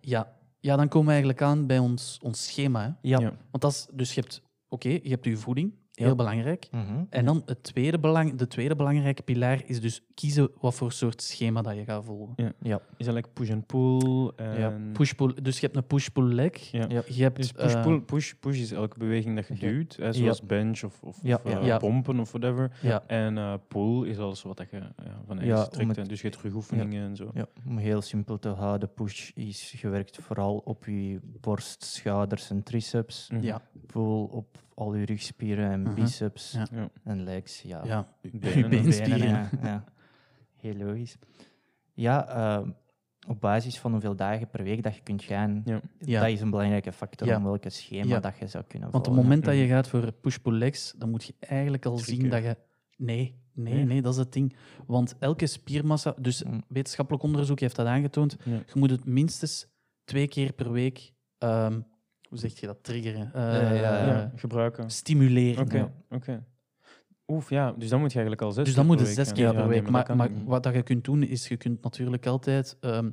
S2: Ja. ja, dan komen we eigenlijk aan bij ons, ons schema. Hè?
S4: Ja.
S3: Ja.
S2: Want dat is, dus je hebt, oké, je hebt je voeding,
S4: Ja.
S2: heel belangrijk.
S4: Mhm.
S2: En dan het tweede belang, de tweede belangrijke pilaar is dus kiezen wat voor soort schema dat je gaat volgen.
S3: Is dat like push en pull? En...
S2: Push-pull, dus je hebt een push-pull leg.
S3: Ja.
S4: Ja.
S2: Je hebt
S3: Dus push,
S2: eh,
S3: pull, push, push is elke beweging dat je
S4: Ja.
S3: duwt, hè, zoals
S4: Ja.
S3: bench of, of,
S4: Ja,
S3: of, eh,
S4: ja.
S2: Ja.
S3: pompen of whatever.
S2: Ja.
S3: En eh, pull is alles wat dat je ja, van
S4: Ja,
S3: ergens
S4: om
S3: trekt.
S4: het-
S3: hè. Dus je hebt terugoefeningen en zo.
S4: Ja, om heel simpel te houden, push is gewerkt vooral op je borst, schouders en triceps.
S3: Mhm.
S2: Ja.
S4: Pull op al je rugspieren en
S2: Mhm.
S4: biceps.
S2: Ja.
S3: Ja.
S4: En legs, ja.
S2: eh, ja.
S3: Benen.
S2: been.
S4: Benen,
S2: Beenspieren.
S4: ja, ja. Heel logisch. Ja, eh, op basis van hoeveel dagen per week dat je kunt gaan,
S3: Ja.
S2: Ja.
S4: dat is een belangrijke factor
S2: Ja.
S4: om welke schema
S2: Ja.
S4: dat je zou kunnen
S3: Oh,
S2: Want op het
S4: volgen.
S2: moment dat
S3: Mhm.
S2: je gaat voor push-pull-legs, dan moet je eigenlijk al zien
S3: Schrikken.
S2: dat je... Nee, nee,
S3: Nee?
S2: nee, dat is het ding. Want elke spiermassa... Dus
S4: Mm.
S2: wetenschappelijk onderzoek heeft dat aangetoond.
S3: Ja.
S2: Je moet het minstens twee keer per week... ehm, hoe zeg je dat? Triggeren. Eh,
S4: Eh, ja,
S3: ja, gebruiken.
S2: Stimuleren.
S3: Oké,
S4: Ja.
S3: oké. Oef, ja. Dus dan moet je eigenlijk al zes
S2: Dus dan
S3: keer
S2: moet
S3: per
S2: het zes
S3: week
S2: keer
S3: gaan. Ja,
S2: per
S3: nee,
S2: week. Maar,
S3: dat
S2: maar
S3: kan niet.
S2: wat dat je kunt doen, is je kunt natuurlijk altijd ehm,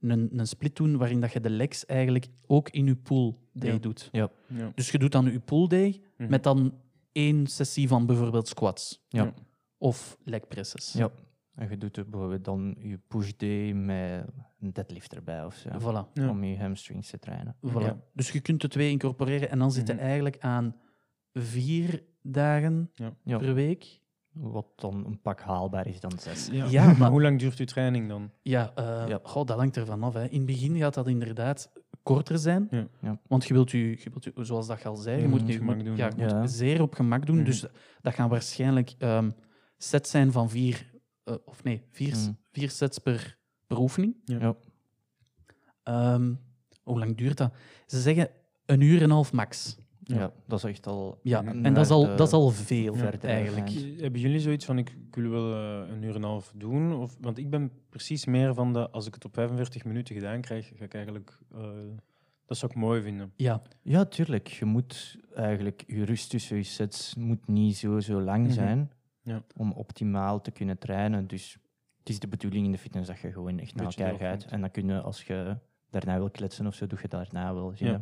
S2: een, een split doen waarin dat je de legs eigenlijk ook in je pool day
S3: Ja.
S2: doet.
S3: Ja.
S2: Dus je doet dan je pool day
S3: Mhm.
S2: met dan één sessie van bijvoorbeeld squats.
S4: Ja.
S2: Of leg presses.
S4: Ja. En je doet er bijvoorbeeld dan je push day met een deadlift erbij of zo.
S2: Voilà.
S3: Ja.
S4: Om je hamstrings te trainen.
S2: voilà.
S3: Ja.
S2: Dus je kunt de twee incorporeren en dan zit je
S3: Mhm.
S2: eigenlijk aan vier dagen
S3: Ja.
S4: Ja.
S2: per week.
S4: Wat dan een pak haalbaar is dan zes.
S3: Ja.
S2: Ja,
S3: maar...
S2: maar-
S3: hoe lang duurt uw training dan?
S2: Ja, eh,
S4: Ja.
S2: Goh, dat hangt ervan af. Hè. In het begin gaat dat inderdaad korter zijn.
S3: Ja.
S4: Ja.
S2: Want je wilt je, je wilt je- zoals dat je al zei,
S3: Ja,
S2: je
S3: je
S2: moet
S3: moet
S2: je
S3: het gemak
S2: moet-
S3: doen,
S2: Ja,
S3: hè.
S2: je moet
S4: Ja.
S2: zeer op gemak doen. Dus dat gaan waarschijnlijk ehm, sets zijn van vier, eh, of nee, vier,
S4: Mhm.
S2: vier sets per, per oefening.
S3: Ja.
S4: Ja.
S2: Ehm, hoe lang duurt dat? Ze zeggen een uur en een half max.
S4: Ja.
S3: Ja.
S4: dat is echt al...
S2: Ja,
S3: Mhm.
S2: en dat is al,
S4: Eh,
S2: dat is al veel
S3: ja.
S2: verder eigenlijk.
S4: Ja.
S3: Ik- Hebben jullie zoiets van, ik, ik wil wel eh, een uur en een half doen? Of, want ik ben precies meer van de, als ik het op 45 minuten gedaan krijg, ga ik eigenlijk... eh, dat zou ik mooi vinden.
S2: Ja,
S4: Ja, tuurlijk. Je moet eigenlijk je rust tussen je sets moet niet zo, zo lang
S3: Mhm.
S4: zijn
S3: Ja.
S4: om optimaal te kunnen trainen. Dus het is de bedoeling in de fitness dat je gewoon echt naar
S3: Beetje
S4: elkaar
S3: doorgaand.
S4: gaat. En dan kun je, als je daarna wil kletsen of zo, doe je daarna wel. zie
S3: Ja.
S4: je.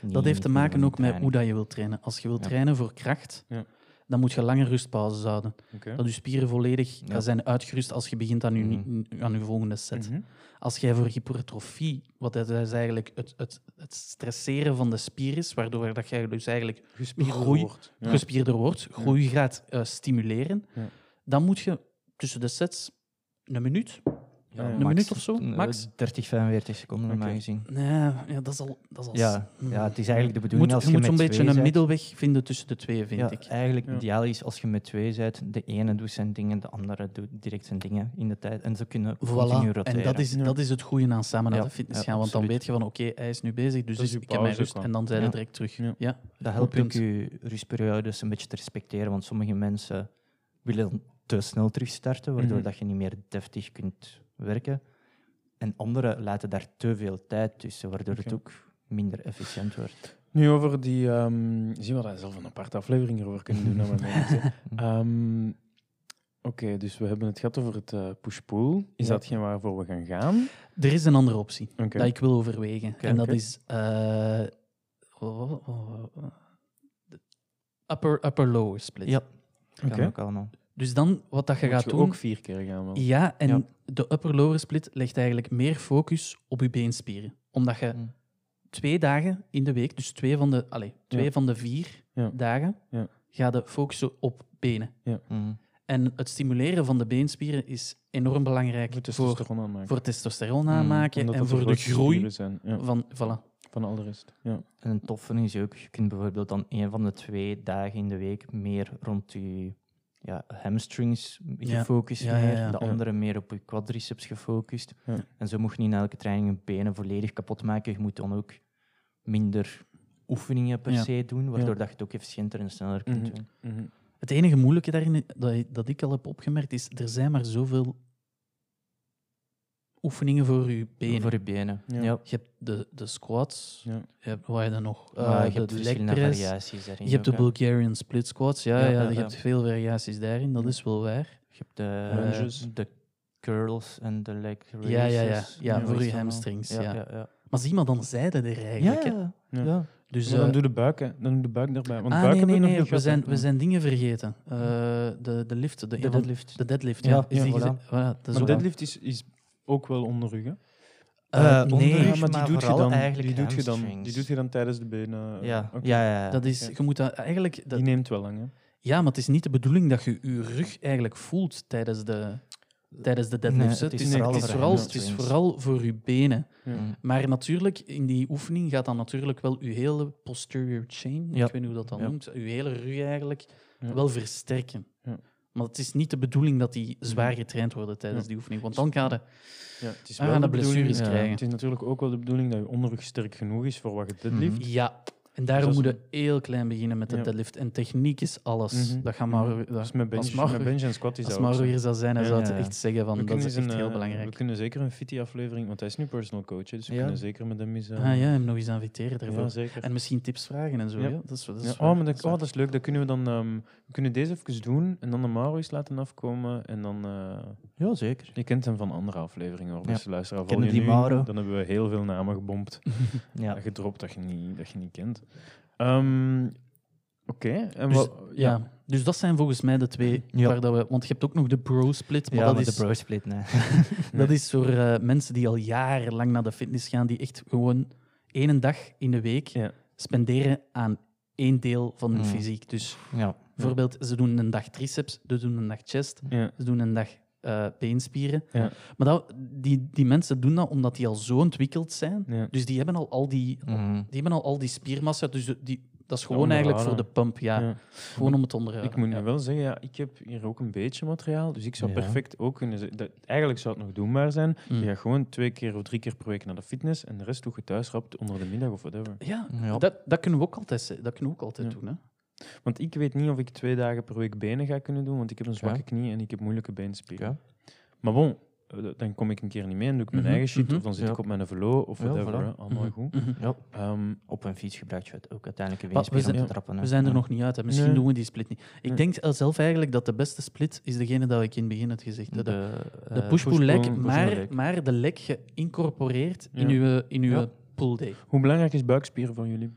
S2: Dat
S4: Niet
S2: heeft te
S4: in
S2: maken
S4: die
S2: ook met
S4: training.
S2: hoe dat je wilt trainen. Als je wilt
S4: Ja.
S2: trainen voor kracht,
S3: Ja.
S2: dan moet je lange rustpauzes houden.
S3: Oké.
S2: Dat je spieren volledig
S4: Ja.
S2: eh, zijn uitgerust als je begint aan je,
S4: Mhm.
S2: aan je volgende set.
S3: Mhm.
S2: Als jij voor hypertrofie, wat dat is eigenlijk het, het, het stresseren van de spier is, waardoor dat jij dus eigenlijk
S3: Gespierder
S2: Groei-
S3: wordt. Ja.
S2: gespierder wordt, groei gaat eh, stimuleren,
S3: Ja.
S2: dan moet je tussen de sets een minuut,
S3: Ja, ja.
S2: een minuut of zo, max.
S4: Eh, 30, 45 seconden normaal
S3: Oké.
S4: gezien.
S2: Nee, ja, dat is al... Dat is al
S4: Ja,
S2: Hmm.
S4: ja, het is eigenlijk de
S2: je
S4: bedoeling
S2: moet,
S4: als
S2: je
S4: je,
S2: moet
S4: met
S2: zo'n beetje
S4: twee
S2: een
S4: bent-
S2: middelweg vinden tussen de twee, vind
S4: ja,
S2: ik.
S4: Eigenlijk
S3: Ja.
S4: ideaal is als je met twee bent, de ene doet zijn dingen, de andere doet direct zijn dingen in de tijd. En ze kunnen continu
S2: Voilà.
S4: roteren.
S2: En dat is, dat is het goede aan samen naar
S4: Ja,
S2: de fitness
S4: ja,
S2: gaan. Want dan
S4: absoluut.
S2: weet je van, oké, hij is nu bezig, dus
S3: Dat is
S2: ik
S3: uw
S2: ik heb mijn
S3: pauze
S2: rust.
S3: ook wel.
S2: En dan zijn we
S4: Ja.
S2: direct terug. Ja.
S3: Ja.
S4: Dat helpt
S2: Goed
S4: ook je rustperiodes dus een beetje te respecteren, want sommige mensen willen te snel terugstarten, waardoor
S3: Mhm.
S4: dat je niet meer deftig kunt werken. En anderen laten daar te veel tijd tussen, waardoor het
S3: Oké.
S4: ook minder efficiënt wordt.
S3: Nu over die... ehm zien we daar zelf een aparte aflevering over kunnen doen. nou, maar mensen. Ehm, Oké, dus we hebben het gehad over het eh, push-pull. Is
S4: Ja.
S3: dat geen waarvoor we gaan gaan?
S2: Er is een andere optie
S3: Oké.
S2: dat ik wil overwegen. en dat
S3: oké.
S2: is... eh, oh, oh, oh, oh, de upper, upper lower split.
S4: Ja, kan
S3: Oké.
S4: ook allemaal.
S2: Dus dan, wat dat je
S3: Moet
S2: gaat
S3: je
S2: doen...
S3: ook vier keer gaan wel.
S2: Ja, en
S4: Ja.
S2: de upper lower split legt eigenlijk meer focus op je beenspieren. Omdat je
S4: Mm.
S2: twee dagen in de week, dus twee van de, allee, twee
S3: Ja.
S2: van de vier
S3: Ja.
S2: dagen,
S3: Ja.
S2: gaat je focussen op benen.
S4: Mhm.
S2: En het stimuleren van de beenspieren is enorm belangrijk
S3: Moet
S2: voor,
S3: testosteron aanmaken.
S2: voor testosteron
S4: Mm,
S2: aanmaken
S3: Omdat
S2: en
S3: dat
S2: voor de
S3: grootste
S2: groei
S3: dieren zijn. Ja,
S2: van... Voilà.
S3: van al de rest. Ja.
S4: En een toffe is ook, je kunt bijvoorbeeld dan een van de twee dagen in de week meer rond je ja, hamstrings
S2: Ja.
S4: gefocust,
S2: Ja, ja,
S4: meer,
S2: ja.
S4: de
S3: Ja.
S4: andere meer op je quadriceps gefocust.
S3: Ja.
S4: En zo mocht je niet na elke training je benen volledig kapot maken. Je moet dan ook minder oefeningen per
S2: Ja.
S4: se doen, waardoor
S3: Ja.
S4: dat je het ook efficiënter en sneller kunt
S3: Mhm.
S4: doen.
S3: Mhm.
S2: Het enige moeilijke daarin dat, dat ik al heb opgemerkt is, er zijn maar zoveel oefeningen voor je benen.
S4: Voor je benen. Ja.
S3: Ja.
S2: Je hebt de, de squats,
S3: Ja.
S2: je hebt, wat heb je dan nog? Eh,
S4: Maar Ah, je
S2: de
S4: hebt
S2: leg
S4: verschillende
S2: press.
S4: variaties daarin.
S2: Je hebt de
S4: ook, hè.
S2: Bulgarian split squats, ja, ja,
S4: Ja, ja,
S2: je
S4: ja.
S2: hebt veel variaties daarin, dat is wel waar.
S4: Je hebt de,
S3: Lunges.
S4: de curls en de leg raises.
S2: ja, ja. Ja,
S4: wat
S2: voor je
S4: is dat nou?
S2: hamstrings, ja.
S4: ja, ja.
S2: Maar zie maar, dan zeiden er
S4: Ja,
S2: eigenlijk. hè.
S4: ja.
S3: Ja.
S4: ja.
S2: Dus,
S3: Maar dan
S2: eh,
S3: doe de buik, hè. Dan doe de buik erbij. Want
S2: ah,
S3: buik
S2: nee,
S3: hebben
S2: nee,
S3: nog niet
S2: nee, we
S3: gehad,
S2: zijn,
S3: hè.
S2: we zijn dingen vergeten. Eh, de, de lift, de,
S4: De
S2: een van-
S4: deadlift.
S2: de deadlift, ja.
S4: Ja,
S2: Is
S4: ja,
S2: die
S4: voilà.
S2: gezegd? Voilà, dat is
S3: Maar
S2: ook-
S3: deadlift is, is ook wel onderrug, hè?
S2: Eh,
S4: Eh,
S2: nee,
S4: onderrug,
S3: Ja, maar die
S4: maar
S3: doet je
S4: vooral
S3: dan, die
S4: eigenlijk
S3: doet je dan, die
S4: hamstrings.
S3: doet je dan tijdens de benen. eh,
S4: Ja,
S3: Oké.
S4: ja, ja, ja.
S2: dat is,
S3: oké.
S2: je moet dat eigenlijk... dat-
S3: Die neemt wel lang, hè?
S2: ja, maar het is niet de bedoeling dat je je rug eigenlijk voelt tijdens de, tijdens de deadlift.
S4: Nee,
S2: hè.
S4: het is
S2: het,
S3: vooral
S2: is
S3: voor
S2: vooral, het is
S4: hamstrings.
S2: vooral voor je benen.
S3: Ja.
S4: Mm.
S2: Maar natuurlijk, in die oefening gaat dan natuurlijk wel uw hele posterior chain,
S4: Ja.
S2: ik weet niet hoe dat dan
S4: Ja.
S2: noemt, uw hele rug eigenlijk,
S3: Ja.
S2: wel versterken.
S3: Ja. Mm.
S2: Maar het is niet de bedoeling dat die zwaar getraind worden tijdens die oefening. Want dan ga je...
S3: Ja, het is
S2: Ah, de
S3: bedoeling-
S2: blessures
S3: ja.
S2: krijgen.
S3: Het is natuurlijk ook wel de bedoeling dat je onderrug sterk genoeg is voor wat je
S2: Mhm.
S3: deadlift.
S2: Ja. En daarom
S3: Dus als-
S2: moet je heel klein beginnen met de
S3: Ja.
S2: deadlift. En techniek is alles.
S3: Mhm.
S2: Dat gaat maar...
S3: Mhm.
S2: dat-
S3: Dus met bench,
S2: als Mauro-
S3: met bench en squat is
S2: Als
S3: dat ook
S2: Mauro
S3: zo.
S2: hier zou zijn, hij
S4: Ja,
S2: zou
S4: ja,
S2: het
S4: ja.
S2: echt zeggen
S3: We
S2: van... Dat
S3: kunnen
S2: is
S3: eens
S2: echt
S3: een,
S2: heel
S3: eh, We
S2: belangrijk.
S3: kunnen zeker een fitty-aflevering, want hij is nu personal coach, hè, dus we
S4: Ja.
S3: kunnen zeker met hem eens... eh,
S2: Ah ja, hem nog eens inviteren daarvoor.
S3: ja, zeker.
S2: En misschien tips vragen en zo.
S3: Ja.
S2: Ja. Dat is, dat is
S3: Ja,
S2: waar.
S3: oh, maar dat,
S2: is
S3: oh,
S2: waar.
S3: dat is leuk. Dat kunnen we dan... ehm, we kunnen deze even doen en dan de Mauro eens laten afkomen. En dan... eh,
S4: Ja, zeker.
S3: je kent hem van andere afleveringen, hoor.
S4: Ja.
S3: Dus luister, al
S4: Kennen
S3: je
S4: die
S3: nu,
S4: Mauro?
S3: dan hebben we heel veel namen gebompt.
S4: Ja.
S3: Dat gedropt dat je niet, dat je niet kent. Ehm, Oké. en
S2: Dus-
S3: wat-
S2: ja. dus dat zijn volgens mij de twee
S4: Ja.
S2: waar dat we... Want je hebt ook nog de bro-split, maar
S4: Ja,
S2: dat,
S4: met
S2: is,
S4: de bro split, nee.
S2: dat is voor eh, mensen die al jarenlang naar de fitness gaan, die echt gewoon één dag in de week
S3: Ja.
S2: spenderen aan één deel van hun
S4: Mm.
S2: fysiek. Dus
S4: Ja.
S2: bijvoorbeeld, ze doen een dag triceps, dus ze doen een dag chest,
S3: Ja.
S2: ze doen een dag eh, beenspieren.
S3: Ja.
S2: Maar dat, die, die mensen doen dat omdat die al zo ontwikkeld zijn.
S3: Ja. Mm.
S2: Dus die hebben al, al die
S4: Mhm.
S2: Die hebben al, al die spiermassa, dus de- die, dat is gewoon
S3: Ja,
S2: eigenlijk voor de
S3: onderhouden.
S2: pump, ja.
S3: Ja.
S2: Gewoon om het te onderhouden.
S3: Ik moet
S2: ja.
S3: nu wel zeggen, ja, ik heb hier ook een beetje materiaal, dus ik zou
S4: Ja.
S3: perfect ook kunnen zeggen... dat- Eigenlijk zou het nog doenbaar zijn.
S2: Mm.
S3: Je gaat gewoon twee keer of drie keer per week naar de fitness en de rest doe je thuis rap onder de middag of whatever.
S2: Ja,
S4: Ja.
S2: Dat, dat kunnen we ook altijd, ze- dat kunnen we ook
S3: Mm.
S2: altijd
S3: Ja.
S2: doen. Hè?
S3: Want ik weet niet of ik twee dagen per week benen ga kunnen doen, want ik heb een zwakke
S4: Ja.
S3: knie en ik heb moeilijke beenspieren.
S4: Oké.
S3: Maar bon, eh, dan kom ik een keer niet mee en doe ik mijn
S2: Mhm,
S3: eigen shit,
S2: mhm.
S3: of dan zit
S4: Ja.
S3: ik op mijn velo of
S4: Ja,
S3: whatever.
S4: voilà.
S3: hè. Allemaal
S2: Mhm,
S3: goed.
S2: mhm.
S4: Ja.
S3: Ehm,
S4: Op een fiets gebruik je het ook uiteindelijk een
S2: Maar we
S4: weerspier om
S2: zijn-
S4: te trappen. hè.
S2: We zijn er
S4: Ja.
S2: nog niet uit, hè. misschien
S3: Nee.
S2: doen we die split niet. Ik
S3: Nee.
S2: denk eh, zelf eigenlijk dat de beste split is degene dat ik in het begin had gezegd. hè. De,
S4: eh,
S2: de push-pull leg,
S3: push-pull
S2: maar,
S4: leg.
S2: maar de leg geïncorporeerd in
S3: Ja.
S2: uw, in uw
S4: Ja.
S2: pull day.
S3: hoe belangrijk is buikspieren voor jullie?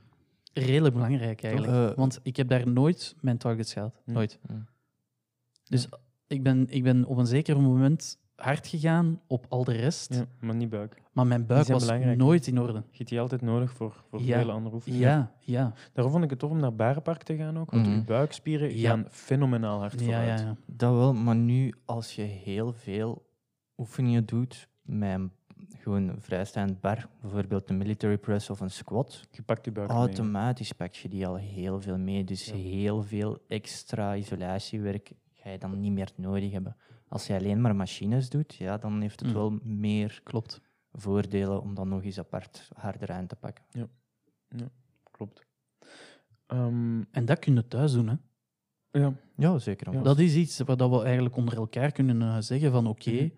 S2: Redelijk belangrijk eigenlijk.
S4: Eh,
S2: Want ik heb daar nooit mijn targets gehaald.
S3: Hm.
S2: Nooit.
S4: Hm.
S2: Dus ik, ben, ik ben op een zeker moment hard gegaan op al de rest.
S3: Ja, maar niet buik.
S2: Maar mijn buik
S3: zijn
S2: was
S3: belangrijk.
S2: nooit in orde.
S3: Je hebt die altijd nodig voor, voor
S2: Ja.
S3: vele andere oefeningen.
S2: Ja, ja.
S3: Daarom vond ik het tof om naar Barenpark te gaan ook, want
S4: Mhm.
S3: uw buikspieren
S2: Ja.
S3: gaan fenomenaal hard
S2: Ja, ja,
S3: vooruit.
S2: ja.
S4: Dat wel, maar nu als je heel veel oefeningen doet met een- gewoon een vrijstaand bar, bijvoorbeeld een military press of een squat,
S3: Je pakt je buik mee.
S4: automatisch pak je die al heel veel mee. Dus
S3: Ja.
S4: heel veel extra isolatiewerk ga je dan niet meer nodig hebben. Als je alleen maar machines doet, ja, dan heeft het
S2: Mm.
S4: wel meer
S2: Klopt.
S4: voordelen om dan nog eens apart harder aan te pakken.
S3: Klopt. Ehm,
S2: En dat kun je thuis doen. Hè.
S3: ja.
S4: Ja, zeker.
S3: Ja.
S4: Ja.
S2: Dat is iets waar dat we eigenlijk onder elkaar kunnen eh, zeggen van oké,
S3: Mhm.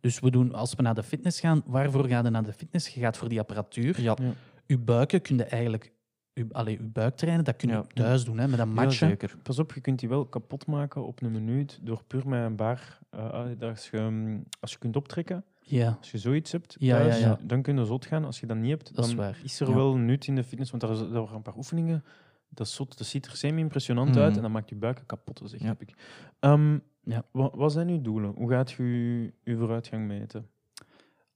S2: dus we doen, als we naar de fitness gaan, waarvoor ga je naar de fitness? Je gaat voor die apparatuur.
S4: Ja.
S3: Ja.
S2: Uw buiken kun je eigenlijk, uw, allee, uw buik trainen, dat kun je
S4: Ja.
S2: ook thuis doen hè, met een
S4: Ja,
S2: matje.
S4: zeker.
S3: Pas op, je kunt die wel kapot maken op een minuut door puur met een bar. eh, ah, als, je, ehm, als je kunt optrekken,
S2: ja.
S3: als je zoiets hebt,
S2: Ja, ja,
S3: thuis,
S2: ja.
S3: dan kun je zot gaan. Als je dat niet hebt,
S2: Dat is
S3: dan
S2: waar,
S3: is er
S4: ja.
S3: wel nut in de fitness, want daar, is- daar waren een paar oefeningen. Dat, is zot, dat ziet er semi-impressionant
S4: Mhm.
S3: uit en dat maakt je buiken kapot, zeg
S4: Ja.
S3: heb ik. Ehm,
S2: Ja.
S3: wa- wat zijn uw doelen? Hoe gaat je je- je vooruitgang meten?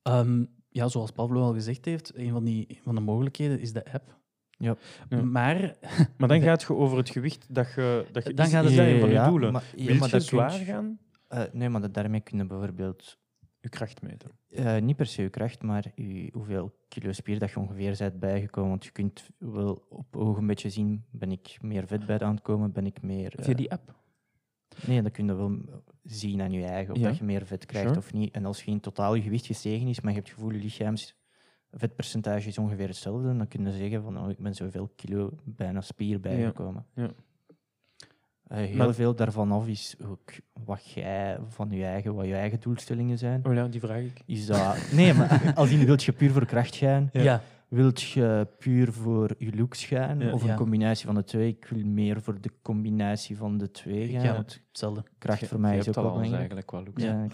S2: Ehm, ja, zoals Pablo al gezegd heeft, een van, die, een van de mogelijkheden is de app.
S4: Ja.
S3: Ja.
S2: Maar
S3: Maar dan
S2: De-
S3: gaat je over het gewicht dat je... Dat je
S2: Dan gaat het-
S3: is dat een van je
S4: Ja,
S3: doelen?
S4: Maar, ja,
S3: Wil
S4: maar
S3: je
S4: dat kun
S3: zwaar
S4: je-
S3: gaan?
S4: Eh, nee, maar dat- daarmee kunnen bijvoorbeeld
S3: Je kracht meten.
S4: eh, niet per se je kracht, maar je, hoeveel kilo spier dat je ongeveer bent bijgekomen. Want je kunt wel op ogen een beetje zien, ben ik meer vet bij aan het komen, ben ik meer... eh,
S3: Via die app?
S4: Nee, dat kun je wel zien aan je eigen, of
S3: Ja.
S4: dat je meer vet krijgt
S3: Sure.
S4: of niet. En als je in totaal je gewicht gestegen is, maar je hebt het gevoel, je lichaams vetpercentage is ongeveer hetzelfde, dan kun je zeggen van, oh, ik ben zoveel kilo bijna spier bijgekomen.
S3: Ja.
S4: Eh, heel
S3: Maar-
S4: veel daarvan af is ook wat jij van je eigen, wat je eigen doelstellingen zijn.
S3: Oh ja, die vraag ik.
S4: Is dat... Nee, maar als in, wilt je puur voor kracht gaan?
S3: Ja.
S2: ja,
S4: Wilt je puur voor je looks gaan?
S3: Ja.
S4: Of een
S2: Ja.
S4: combinatie van de twee? Ik wil meer voor de combinatie van de twee gaan.
S2: Ja.
S4: Want
S2: hetzelfde.
S4: kracht voor mij is ook wel belangrijk.
S3: eigenlijk qua looks.
S4: Ja.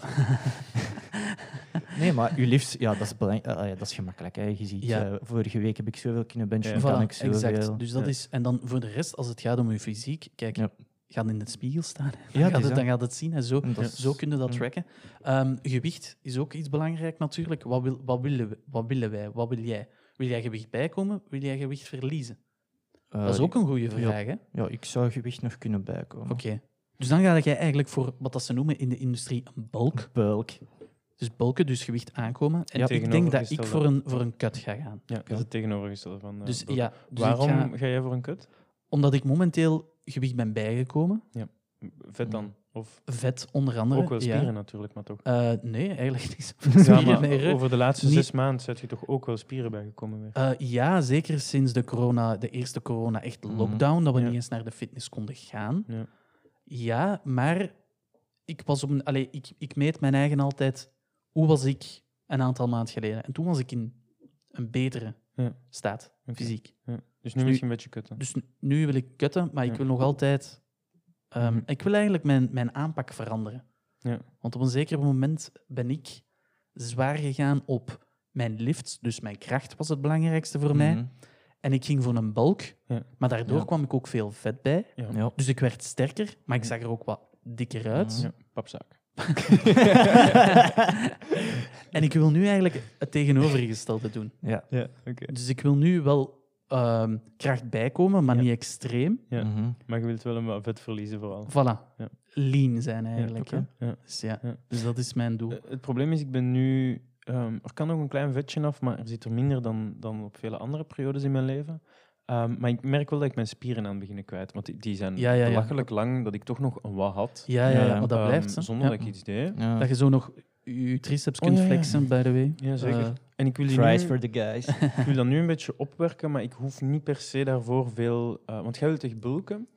S4: ik- nee, maar uw liefst, ja, dat is, belang, eh, ja, dat is gemakkelijk. Hè. Je ziet,
S2: Ja.
S4: eh, vorige week heb ik zoveel kunnen benchen,
S3: Ja.
S4: nu kan
S2: Voilà,
S4: ik zoveel.
S2: exact. Dus dat
S3: Ja.
S2: is, en dan voor de rest, als het gaat om je fysiek, kijk,
S4: Ja.
S2: ga in de spiegel staan. hè.
S4: het
S2: Dan, gaat
S4: is
S2: het,
S4: dat.
S2: dan gaat het zien. En zo,
S4: En dat is-
S2: zo kun je dat
S4: Mm.
S2: tracken. Ehm, gewicht is ook iets belangrijk natuurlijk. Wat, wil, wat, willen, we- wat willen wij? Wat wil jij? Wil jij gewicht bijkomen? Wil jij gewicht verliezen?
S4: eh,
S2: dat is ook een goede vraag.
S4: ja.
S2: hè? Oké.
S4: Ja, ik zou gewicht nog kunnen bijkomen.
S2: Dus dan ga jij eigenlijk voor wat dat ze noemen in de industrie een bulk.
S4: Bulk.
S2: Dus bulken, dus gewicht aankomen. En
S3: Ja.
S2: ik denk dat ik
S3: Tegenovergestelde.
S2: voor een, voor een cut ga gaan.
S3: Ja, dat is het tegenovergestelde van. eh,
S2: Dus
S3: bulk.
S2: ja, dus ik
S3: Waarom
S2: ga-
S3: ga... jij voor een kut?
S2: omdat ik momenteel gewicht ben bijgekomen.
S3: Vet dan. Of Of
S2: Vet onder andere.
S3: ook wel
S2: ja.
S3: spieren natuurlijk, maar toch.
S2: Eh, nee, eigenlijk niet zoveel
S3: Ja,
S2: spieren
S3: maar
S2: meer, Eh, hè.
S3: over de laatste
S2: Niet-
S3: zes maanden zet je toch ook wel spieren bijgekomen weer.
S2: Eh, ja, zeker sinds de, corona, de eerste corona echt
S4: Mhm.
S2: lockdown, dat we
S3: Ja.
S2: niet eens naar de fitness konden gaan.
S3: Ja.
S2: Ja, maar ik was op een. Allee, ik, ik meet mijn eigen altijd. Hoe was ik een aantal maanden geleden? En toen was ik in een betere
S3: Ja.
S2: staat,
S3: Oké.
S2: fysiek.
S3: Ja. Dus
S2: nu-
S3: nu misschien een beetje kutten.
S2: Dus n- nu wil ik kutten, maar ik
S3: Ja.
S2: wil nog altijd. ehm,
S3: Mhm.
S2: Ik wil eigenlijk mijn, mijn aanpak veranderen.
S3: Ja.
S2: Want op een zeker moment ben ik zwaar gegaan op mijn lifts. Dus mijn kracht was het belangrijkste voor mij.
S4: Mhm.
S2: En ik ging voor een bulk,
S3: Ja.
S2: maar daardoor
S4: Ja.
S2: kwam ik ook veel vet bij.
S4: Ja.
S2: Dus ik werd sterker, maar ik zag er ook wat dikker uit.
S3: Ja, papzaak.
S2: en ik wil nu eigenlijk het tegenovergestelde doen.
S4: Ja.
S3: Ja, oké.
S2: Dus ik wil nu wel ehm, kracht bijkomen, maar
S3: Ja.
S2: niet extreem.
S3: Ja.
S4: Mhm.
S3: Maar je wilt wel een wat vet verliezen vooral.
S2: Voilà,
S3: Ja.
S2: lean zijn eigenlijk.
S3: oké.
S2: hè.
S3: Ja.
S2: Dus, ja.
S3: Ja.
S2: dus dat is mijn doel.
S3: Eh, Het probleem is, ik ben nu... ehm, er kan nog een klein vetje af, maar er zit er minder dan, dan op vele andere periodes in mijn leven. Ehm, maar ik merk wel dat ik mijn spieren aan het beginnen kwijt. Want die, die zijn
S2: Ja, ja, ja.
S3: belachelijk lang, dat ik toch nog een wat had.
S2: Ja, ja,
S4: Ja,
S2: ja, maar dat
S3: Ehm,
S2: blijft. hè.
S3: Zonder
S2: Ja.
S3: dat ik iets deed.
S4: Ja.
S2: Dat je zo nog je triceps
S3: Oh,
S2: kunt
S3: ja, ja.
S2: flexen, by the way.
S3: Ja, zeker.
S2: Eh,
S3: en ik wil, die
S4: Fries
S3: nu,
S4: for the guys.
S3: ik wil dat nu een beetje opwerken, maar ik hoef niet per se daarvoor veel... eh, want jij wilt echt bulken,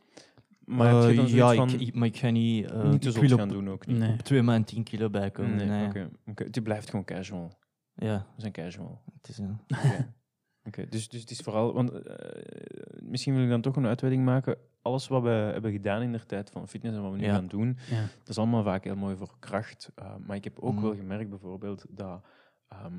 S3: maar heb je dan
S4: Eh,
S3: zoiets
S4: ja,
S3: van...
S4: ik, ik- maar ik ga niet, eh,
S3: niet te
S4: ik
S3: zot
S4: wil
S3: gaan
S4: op
S3: doen ook niet.
S2: nee.
S4: twee maanden 10 kilo bijkomen.
S3: Nee,
S4: Nee,
S3: oké. oké. Die blijft gewoon casual.
S4: Ja,
S3: We zijn casual.
S4: het is een...
S3: Oké, dus, dus het is vooral, want eh, misschien wil ik dan toch een uitweiding maken. Alles wat we hebben gedaan in de tijd van fitness en wat we nu
S4: Ja.
S3: gaan doen,
S2: Ja. Mm.
S3: dat is allemaal vaak heel mooi voor kracht. Eh, maar ik heb ook
S4: Mhm.
S3: wel gemerkt bijvoorbeeld dat ehm,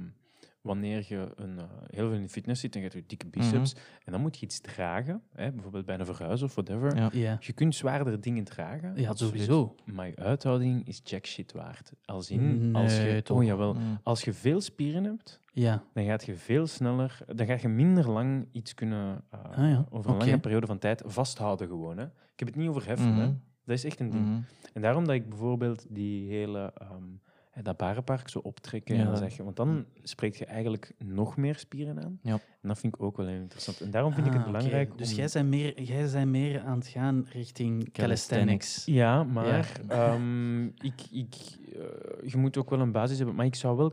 S3: wanneer je een, eh, heel veel in de fitness zit en je hebt je
S2: Mhm.
S3: dikke biceps, en dan moet je iets dragen, hè, bijvoorbeeld bij een verhuis of whatever.
S4: Ja.
S2: Ja.
S3: Je kunt zwaardere dingen dragen.
S2: ja,
S3: absoluut.
S2: sowieso.
S3: Maar je uithouding is jack shit waard. Als in, als
S2: Nee,
S3: je,
S2: toch.
S3: oh jawel,
S4: Mm.
S3: als je veel spieren hebt,
S2: Ja.
S3: dan gaat je veel sneller, dan gaat je minder lang iets kunnen eh,
S2: Ah ja,
S3: over een
S2: oké.
S3: lange periode van tijd vasthouden gewoon. Hè. Ik heb het niet over heffen, hè.
S4: Mhm.
S3: dat is echt een ding.
S4: Mhm.
S3: En daarom dat ik bijvoorbeeld die hele ehm, eh, dat barenpark zo optrekken en
S4: Ja.
S3: dan zeg je, want dan spreekt je eigenlijk nog meer spieren aan.
S4: Ja.
S3: En dat vind ik ook wel heel interessant. En daarom vind ik
S2: Ah,
S3: het
S2: oké.
S3: belangrijk.
S2: Dus
S3: om-
S2: jij bent, meer, jij bent meer aan het gaan richting
S4: Calisthenics.
S2: calisthenics.
S3: Ja, maar ehm, ik, ik, eh, je moet ook wel een basis hebben. Maar ik zou wel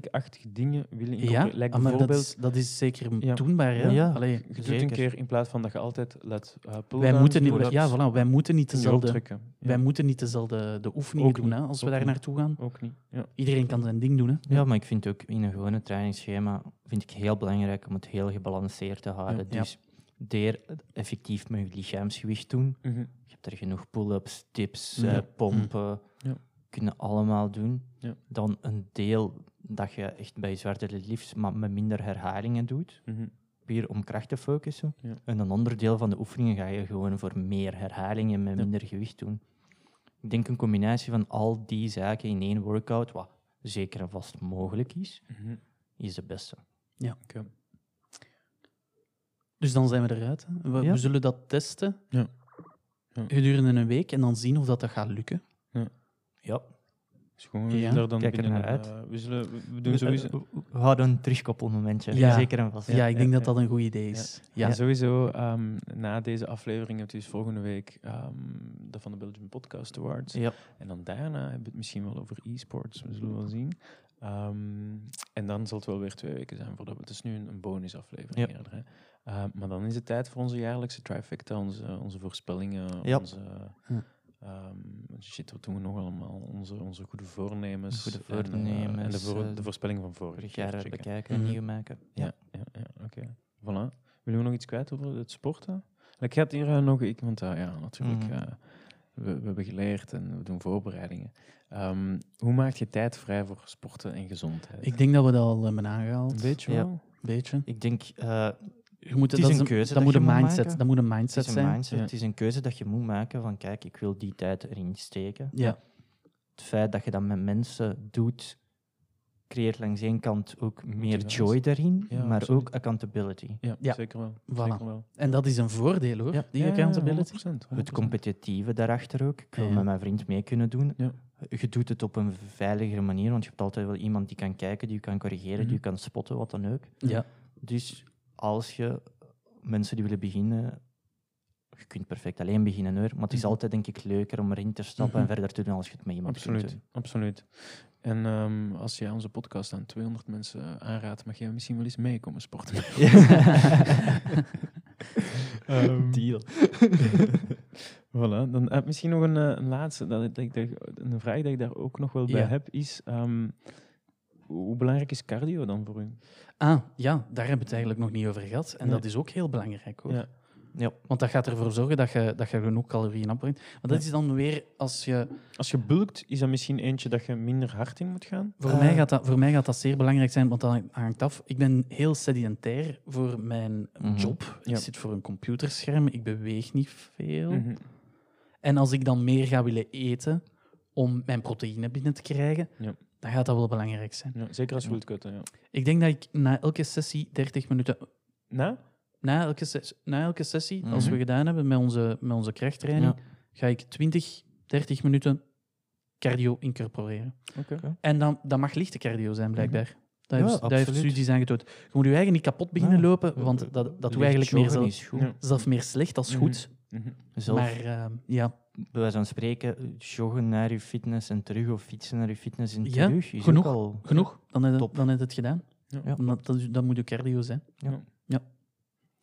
S3: calisthenic-achtige dingen willen
S2: Ja,
S3: incorporeren. Like
S2: ah, maar dat
S3: bijvoorbeeld,
S2: is, dat is zeker
S3: Ja.
S2: doenbaar. Hè?
S4: Ja.
S2: Allee,
S3: je doet
S4: zeker.
S3: een keer in plaats van dat je altijd laat eh
S2: wij,
S3: pull-downs
S2: moeten
S3: doen,
S2: niet, ja,
S3: dat-
S2: voilà, wij moeten niet
S3: Kun je
S2: dezelfde,
S3: optrekken. Ja,
S2: wij moeten niet dezelfde de oefeningen
S3: Ook
S2: doen hè,
S3: niet,
S2: als we
S3: ook
S2: daar
S3: niet.
S2: naartoe gaan.
S3: Ook niet. Ja.
S2: Iedereen kan zijn ding doen. Hè?
S4: Ja, maar ik vind ook in een gewone trainingsschema vind ik heel belangrijk om het heel gebalanceerd te houden.
S2: Ja.
S4: Dus deer effectief met je lichaamsgewicht doen.
S3: Mhm,
S4: Je hebt er genoeg pull-ups, dips, eh,
S2: Ja.
S4: pompen,
S3: Mm. Ja.
S4: kunnen allemaal doen.
S3: Ja.
S4: Dan een deel dat je echt bij zwarte lifts, maar met minder herhalingen doet,
S3: Mhm.
S4: puur om kracht te focussen.
S3: Ja.
S4: En een ander deel van de oefeningen ga je gewoon voor meer herhalingen met
S3: Ja.
S4: minder gewicht doen. Ik denk een combinatie van al die zaken in één workout, wat zeker en vast mogelijk is,
S3: Mhm.
S4: is de beste.
S3: Oké.
S2: Dus dan zijn we eruit. hè. We,
S4: Ja.
S2: we zullen dat testen
S3: Ja. Ja.
S2: gedurende een week en dan zien of dat, dat gaat lukken.
S4: Ja,
S3: Dus gewoon, we
S2: Ja.
S3: zullen daar dan
S4: Kijk er
S3: binnen,
S4: naar uit.
S3: eh, we, zullen, we doen
S2: eh,
S3: sowieso...
S4: Eh, We houden een terugkoppelmomentje,
S2: Ja.
S4: zeker en vast.
S2: Ja, ik denk
S3: ja,
S2: dat
S3: ja.
S2: dat een goed idee is. Ja.
S3: Ja. sowieso, ehm, na deze aflevering heb je dus volgende week ehm, de Van de Belgium Podcast Awards.
S4: Ja.
S3: En dan daarna hebben we het misschien wel over e-sports. We zullen wel zien. Ehm, en dan zal het wel weer twee weken zijn voordat we... Het is nu een, een bonusaflevering
S4: Ja.
S3: eerder. Hè? Ehm, maar dan is het tijd voor onze jaarlijkse trifecta, onze, onze voorspellingen,
S4: Ja.
S3: onze...
S2: Hm.
S3: ehm, shit, wat doen we nog allemaal? Onze, onze goede voornemens.
S4: Goede
S3: en, eh, En, de,
S4: voornemens,
S3: voor-
S4: eh,
S3: de voorspelling van vorig
S4: Vorig jaar
S3: checken.
S4: bekijken,
S2: Mhm.
S4: nieuw maken. Ja.
S3: Ja, ja, ja oké. Voilà. Willen we nog iets kwijt over het sporten? Ik ga het hier eh, nog... Ik, want eh, ja, natuurlijk...
S4: Mhm.
S3: eh, we, we hebben geleerd en we doen voorbereidingen. Ehm, hoe maak je tijd vrij voor sporten en gezondheid?
S2: Ik denk dat we dat al eh, hebben aangehaald.
S3: Een beetje
S4: Ja.
S3: wel.
S2: beetje.
S4: Ik denk, eh,
S2: Je moet,
S4: Het is
S2: dat
S4: een
S2: Dat
S4: keuze dat
S2: moet een
S4: je moet
S2: mindset,
S4: maken.
S2: dat moet een
S4: het
S2: mindset
S4: is
S2: zijn.
S4: een mindset,
S3: Ja.
S4: het is een keuze dat je moet maken van kijk, ik wil die tijd erin steken.
S2: Ja.
S4: Het feit dat je dat met mensen doet, creëert langs één kant ook meer
S3: Motivatie.
S4: joy daarin,
S3: Ja,
S4: maar
S3: absoluut.
S4: ook accountability.
S3: Ja,
S2: Ja.
S3: zeker wel.
S2: Voilà.
S3: Zeker wel.
S2: En dat is een voordeel hoor,
S3: Ja,
S2: die
S3: ja, ja,
S2: accountability.
S3: 100%, 100%.
S4: Het competitieve daarachter ook. Ik wil
S2: Ja.
S4: met mijn vriend mee kunnen doen.
S3: Ja.
S4: Je doet het op een veiligere manier, want je hebt altijd wel iemand die kan kijken, die je kan corrigeren, die je kan spotten, wat dan ook.
S2: Ja.
S4: Dus als je mensen die willen beginnen je kunt perfect alleen beginnen hoor, maar het is
S3: Mhm.
S4: altijd denk ik leuker om erin te stappen
S3: Mhm.
S4: en verder te doen als je het met iemand kunt
S3: Absoluut,
S4: doen.
S3: absoluut. En ehm, als jij onze podcast aan 200 mensen eh, aanraadt, mag jij misschien wel eens meekomen sporten. met ons. Ehm,
S2: Deal.
S3: voilà, dan heb ik misschien nog een, eh, een laatste. Dat, ik- dat, ik daar- een vraag die ik daar ook nog wel bij
S2: Ja.
S3: heb is: ehm, hoe belangrijk is cardio dan voor u?
S2: Ah, ja, daar hebben we het eigenlijk nog niet over gehad. En
S3: Nee.
S2: dat is ook heel belangrijk hoor.
S3: Ja.
S4: Ja.
S2: Want dat gaat ervoor zorgen dat je, dat je genoeg calorieën opbrengt. Maar dat
S3: Ja.
S2: is dan weer als je.
S3: Als je bulkt, is dat misschien eentje dat je minder hard in moet gaan?
S2: Voor,
S4: Eh.
S2: mij gaat dat, voor mij gaat dat zeer belangrijk zijn, want dat hangt af. Ik ben heel sedentair voor mijn
S4: Mhm.
S2: job.
S3: Ja.
S2: Ik zit voor een computerscherm, ik beweeg niet veel.
S3: Mhm.
S2: En als ik dan meer ga willen eten om mijn proteïne binnen te krijgen,
S3: Ja.
S2: dan gaat dat wel belangrijk zijn.
S3: Ja, zeker als je wilt cutten, ja.
S2: Ik denk dat ik na elke sessie 30 minuten.
S3: Nou,
S2: Na elke, ses- na elke sessie, als
S4: Mhm.
S2: we gedaan hebben met onze, met onze krachttraining,
S4: Ja.
S2: ga ik 20, 30 minuten cardio incorporeren.
S3: Oké.
S4: Oké.
S2: En dan, dat mag lichte cardio zijn, blijkbaar. Dat,
S4: Ja,
S2: heeft, dat heeft
S4: absoluut.
S2: studies aangetoond. Je moet je eigen niet kapot beginnen
S4: Ja.
S2: lopen, want dat, dat doe je
S4: Licht
S2: eigenlijk meer
S4: joggen
S2: zelf,
S4: is goed.
S3: Ja.
S2: zelf meer slecht als
S3: Mhm.
S2: goed.
S3: Mhm.
S4: Zelf,
S2: Maar ehm, ja,
S4: bij wijze van spreken, joggen naar je fitness en terug of fietsen naar je fitness en
S2: Ja,
S4: terug is
S2: genoeg.
S4: ook al...
S2: genoeg. Dan heb je,
S4: Top.
S2: dan heb je het gedaan.
S3: Ja.
S4: Ja.
S2: Omdat dat, dat moet je cardio zijn.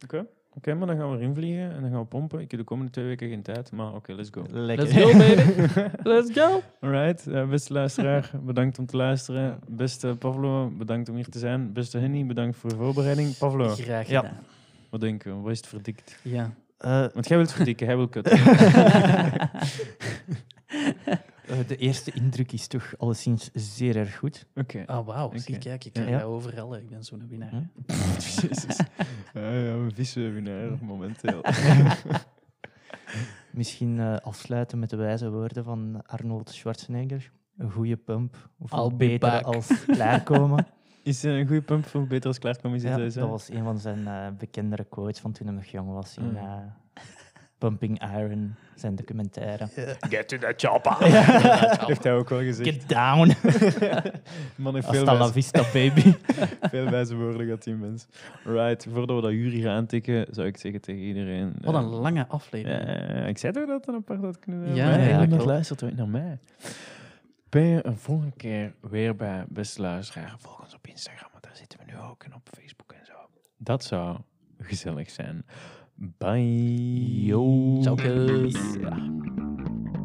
S3: Oké, Oké, maar dan gaan we erin vliegen en dan gaan we pompen. Ik heb de komende twee weken geen tijd, maar oké, let's go.
S4: Lekker.
S2: Let's go, baby. Let's go.
S3: Alright, eh, beste luisteraar, bedankt om te luisteren. Beste Pavlo, bedankt om hier te zijn. Beste Henny, bedankt voor de voorbereiding. Pavlo,
S2: Graag
S4: Ja.
S2: gedaan.
S3: wat denken we? Wat is het verdikt?
S2: Ja.
S4: Eh,
S3: Want jij wilt verdikken, hij wil kutten.
S4: eh, de eerste indruk is toch alleszins zeer erg goed.
S3: Oké.
S2: Ah, wauw. Zie,
S3: Oké.
S2: kijk, ik
S3: Ja.
S2: krijg dat overal. hè. Ik ben zo'n winnaar.
S4: Hm?
S3: Jezus. Ah, ja, een vieze winnaar momenteel.
S4: Misschien eh, afsluiten met de wijze woorden van Arnold Schwarzenegger. Een goede pump. Of
S2: I'll be
S4: beter
S2: back.
S4: als klaarkomen.
S3: Is eh, een goede pump voor beter als klaarkomen
S4: ja,
S3: zitten?
S4: dat was een van zijn eh, bekendere quotes van toen hij nog jong was. In
S3: Ja.
S4: eh, Pumping Iron, zijn documentaire.
S1: Get to the chopper.
S3: Heeft hij ook wel gezegd.
S4: Get down!
S3: Man heeft veel
S4: Hasta la
S3: wijs-
S4: vista, baby.
S3: Veel wijze woorden gaat die mens. Right, voordat we dat jury gaan aantikken, zou ik zeggen tegen iedereen...
S2: Wat
S3: eh,
S2: een lange aflevering.
S3: eh, ik zei toch dat we een apart had kunnen zijn?
S2: Ja,
S3: maar
S2: ja,
S3: eigenlijk
S2: klopt.
S3: luistert ooit naar mij. Ben je een volgende keer weer bij beste luisteraar? Volg ons op Instagram, want daar zitten we nu ook. En op Facebook en zo. Dat zou gezellig zijn. Bye.
S4: Yo.
S2: Ciao.
S3: Ja.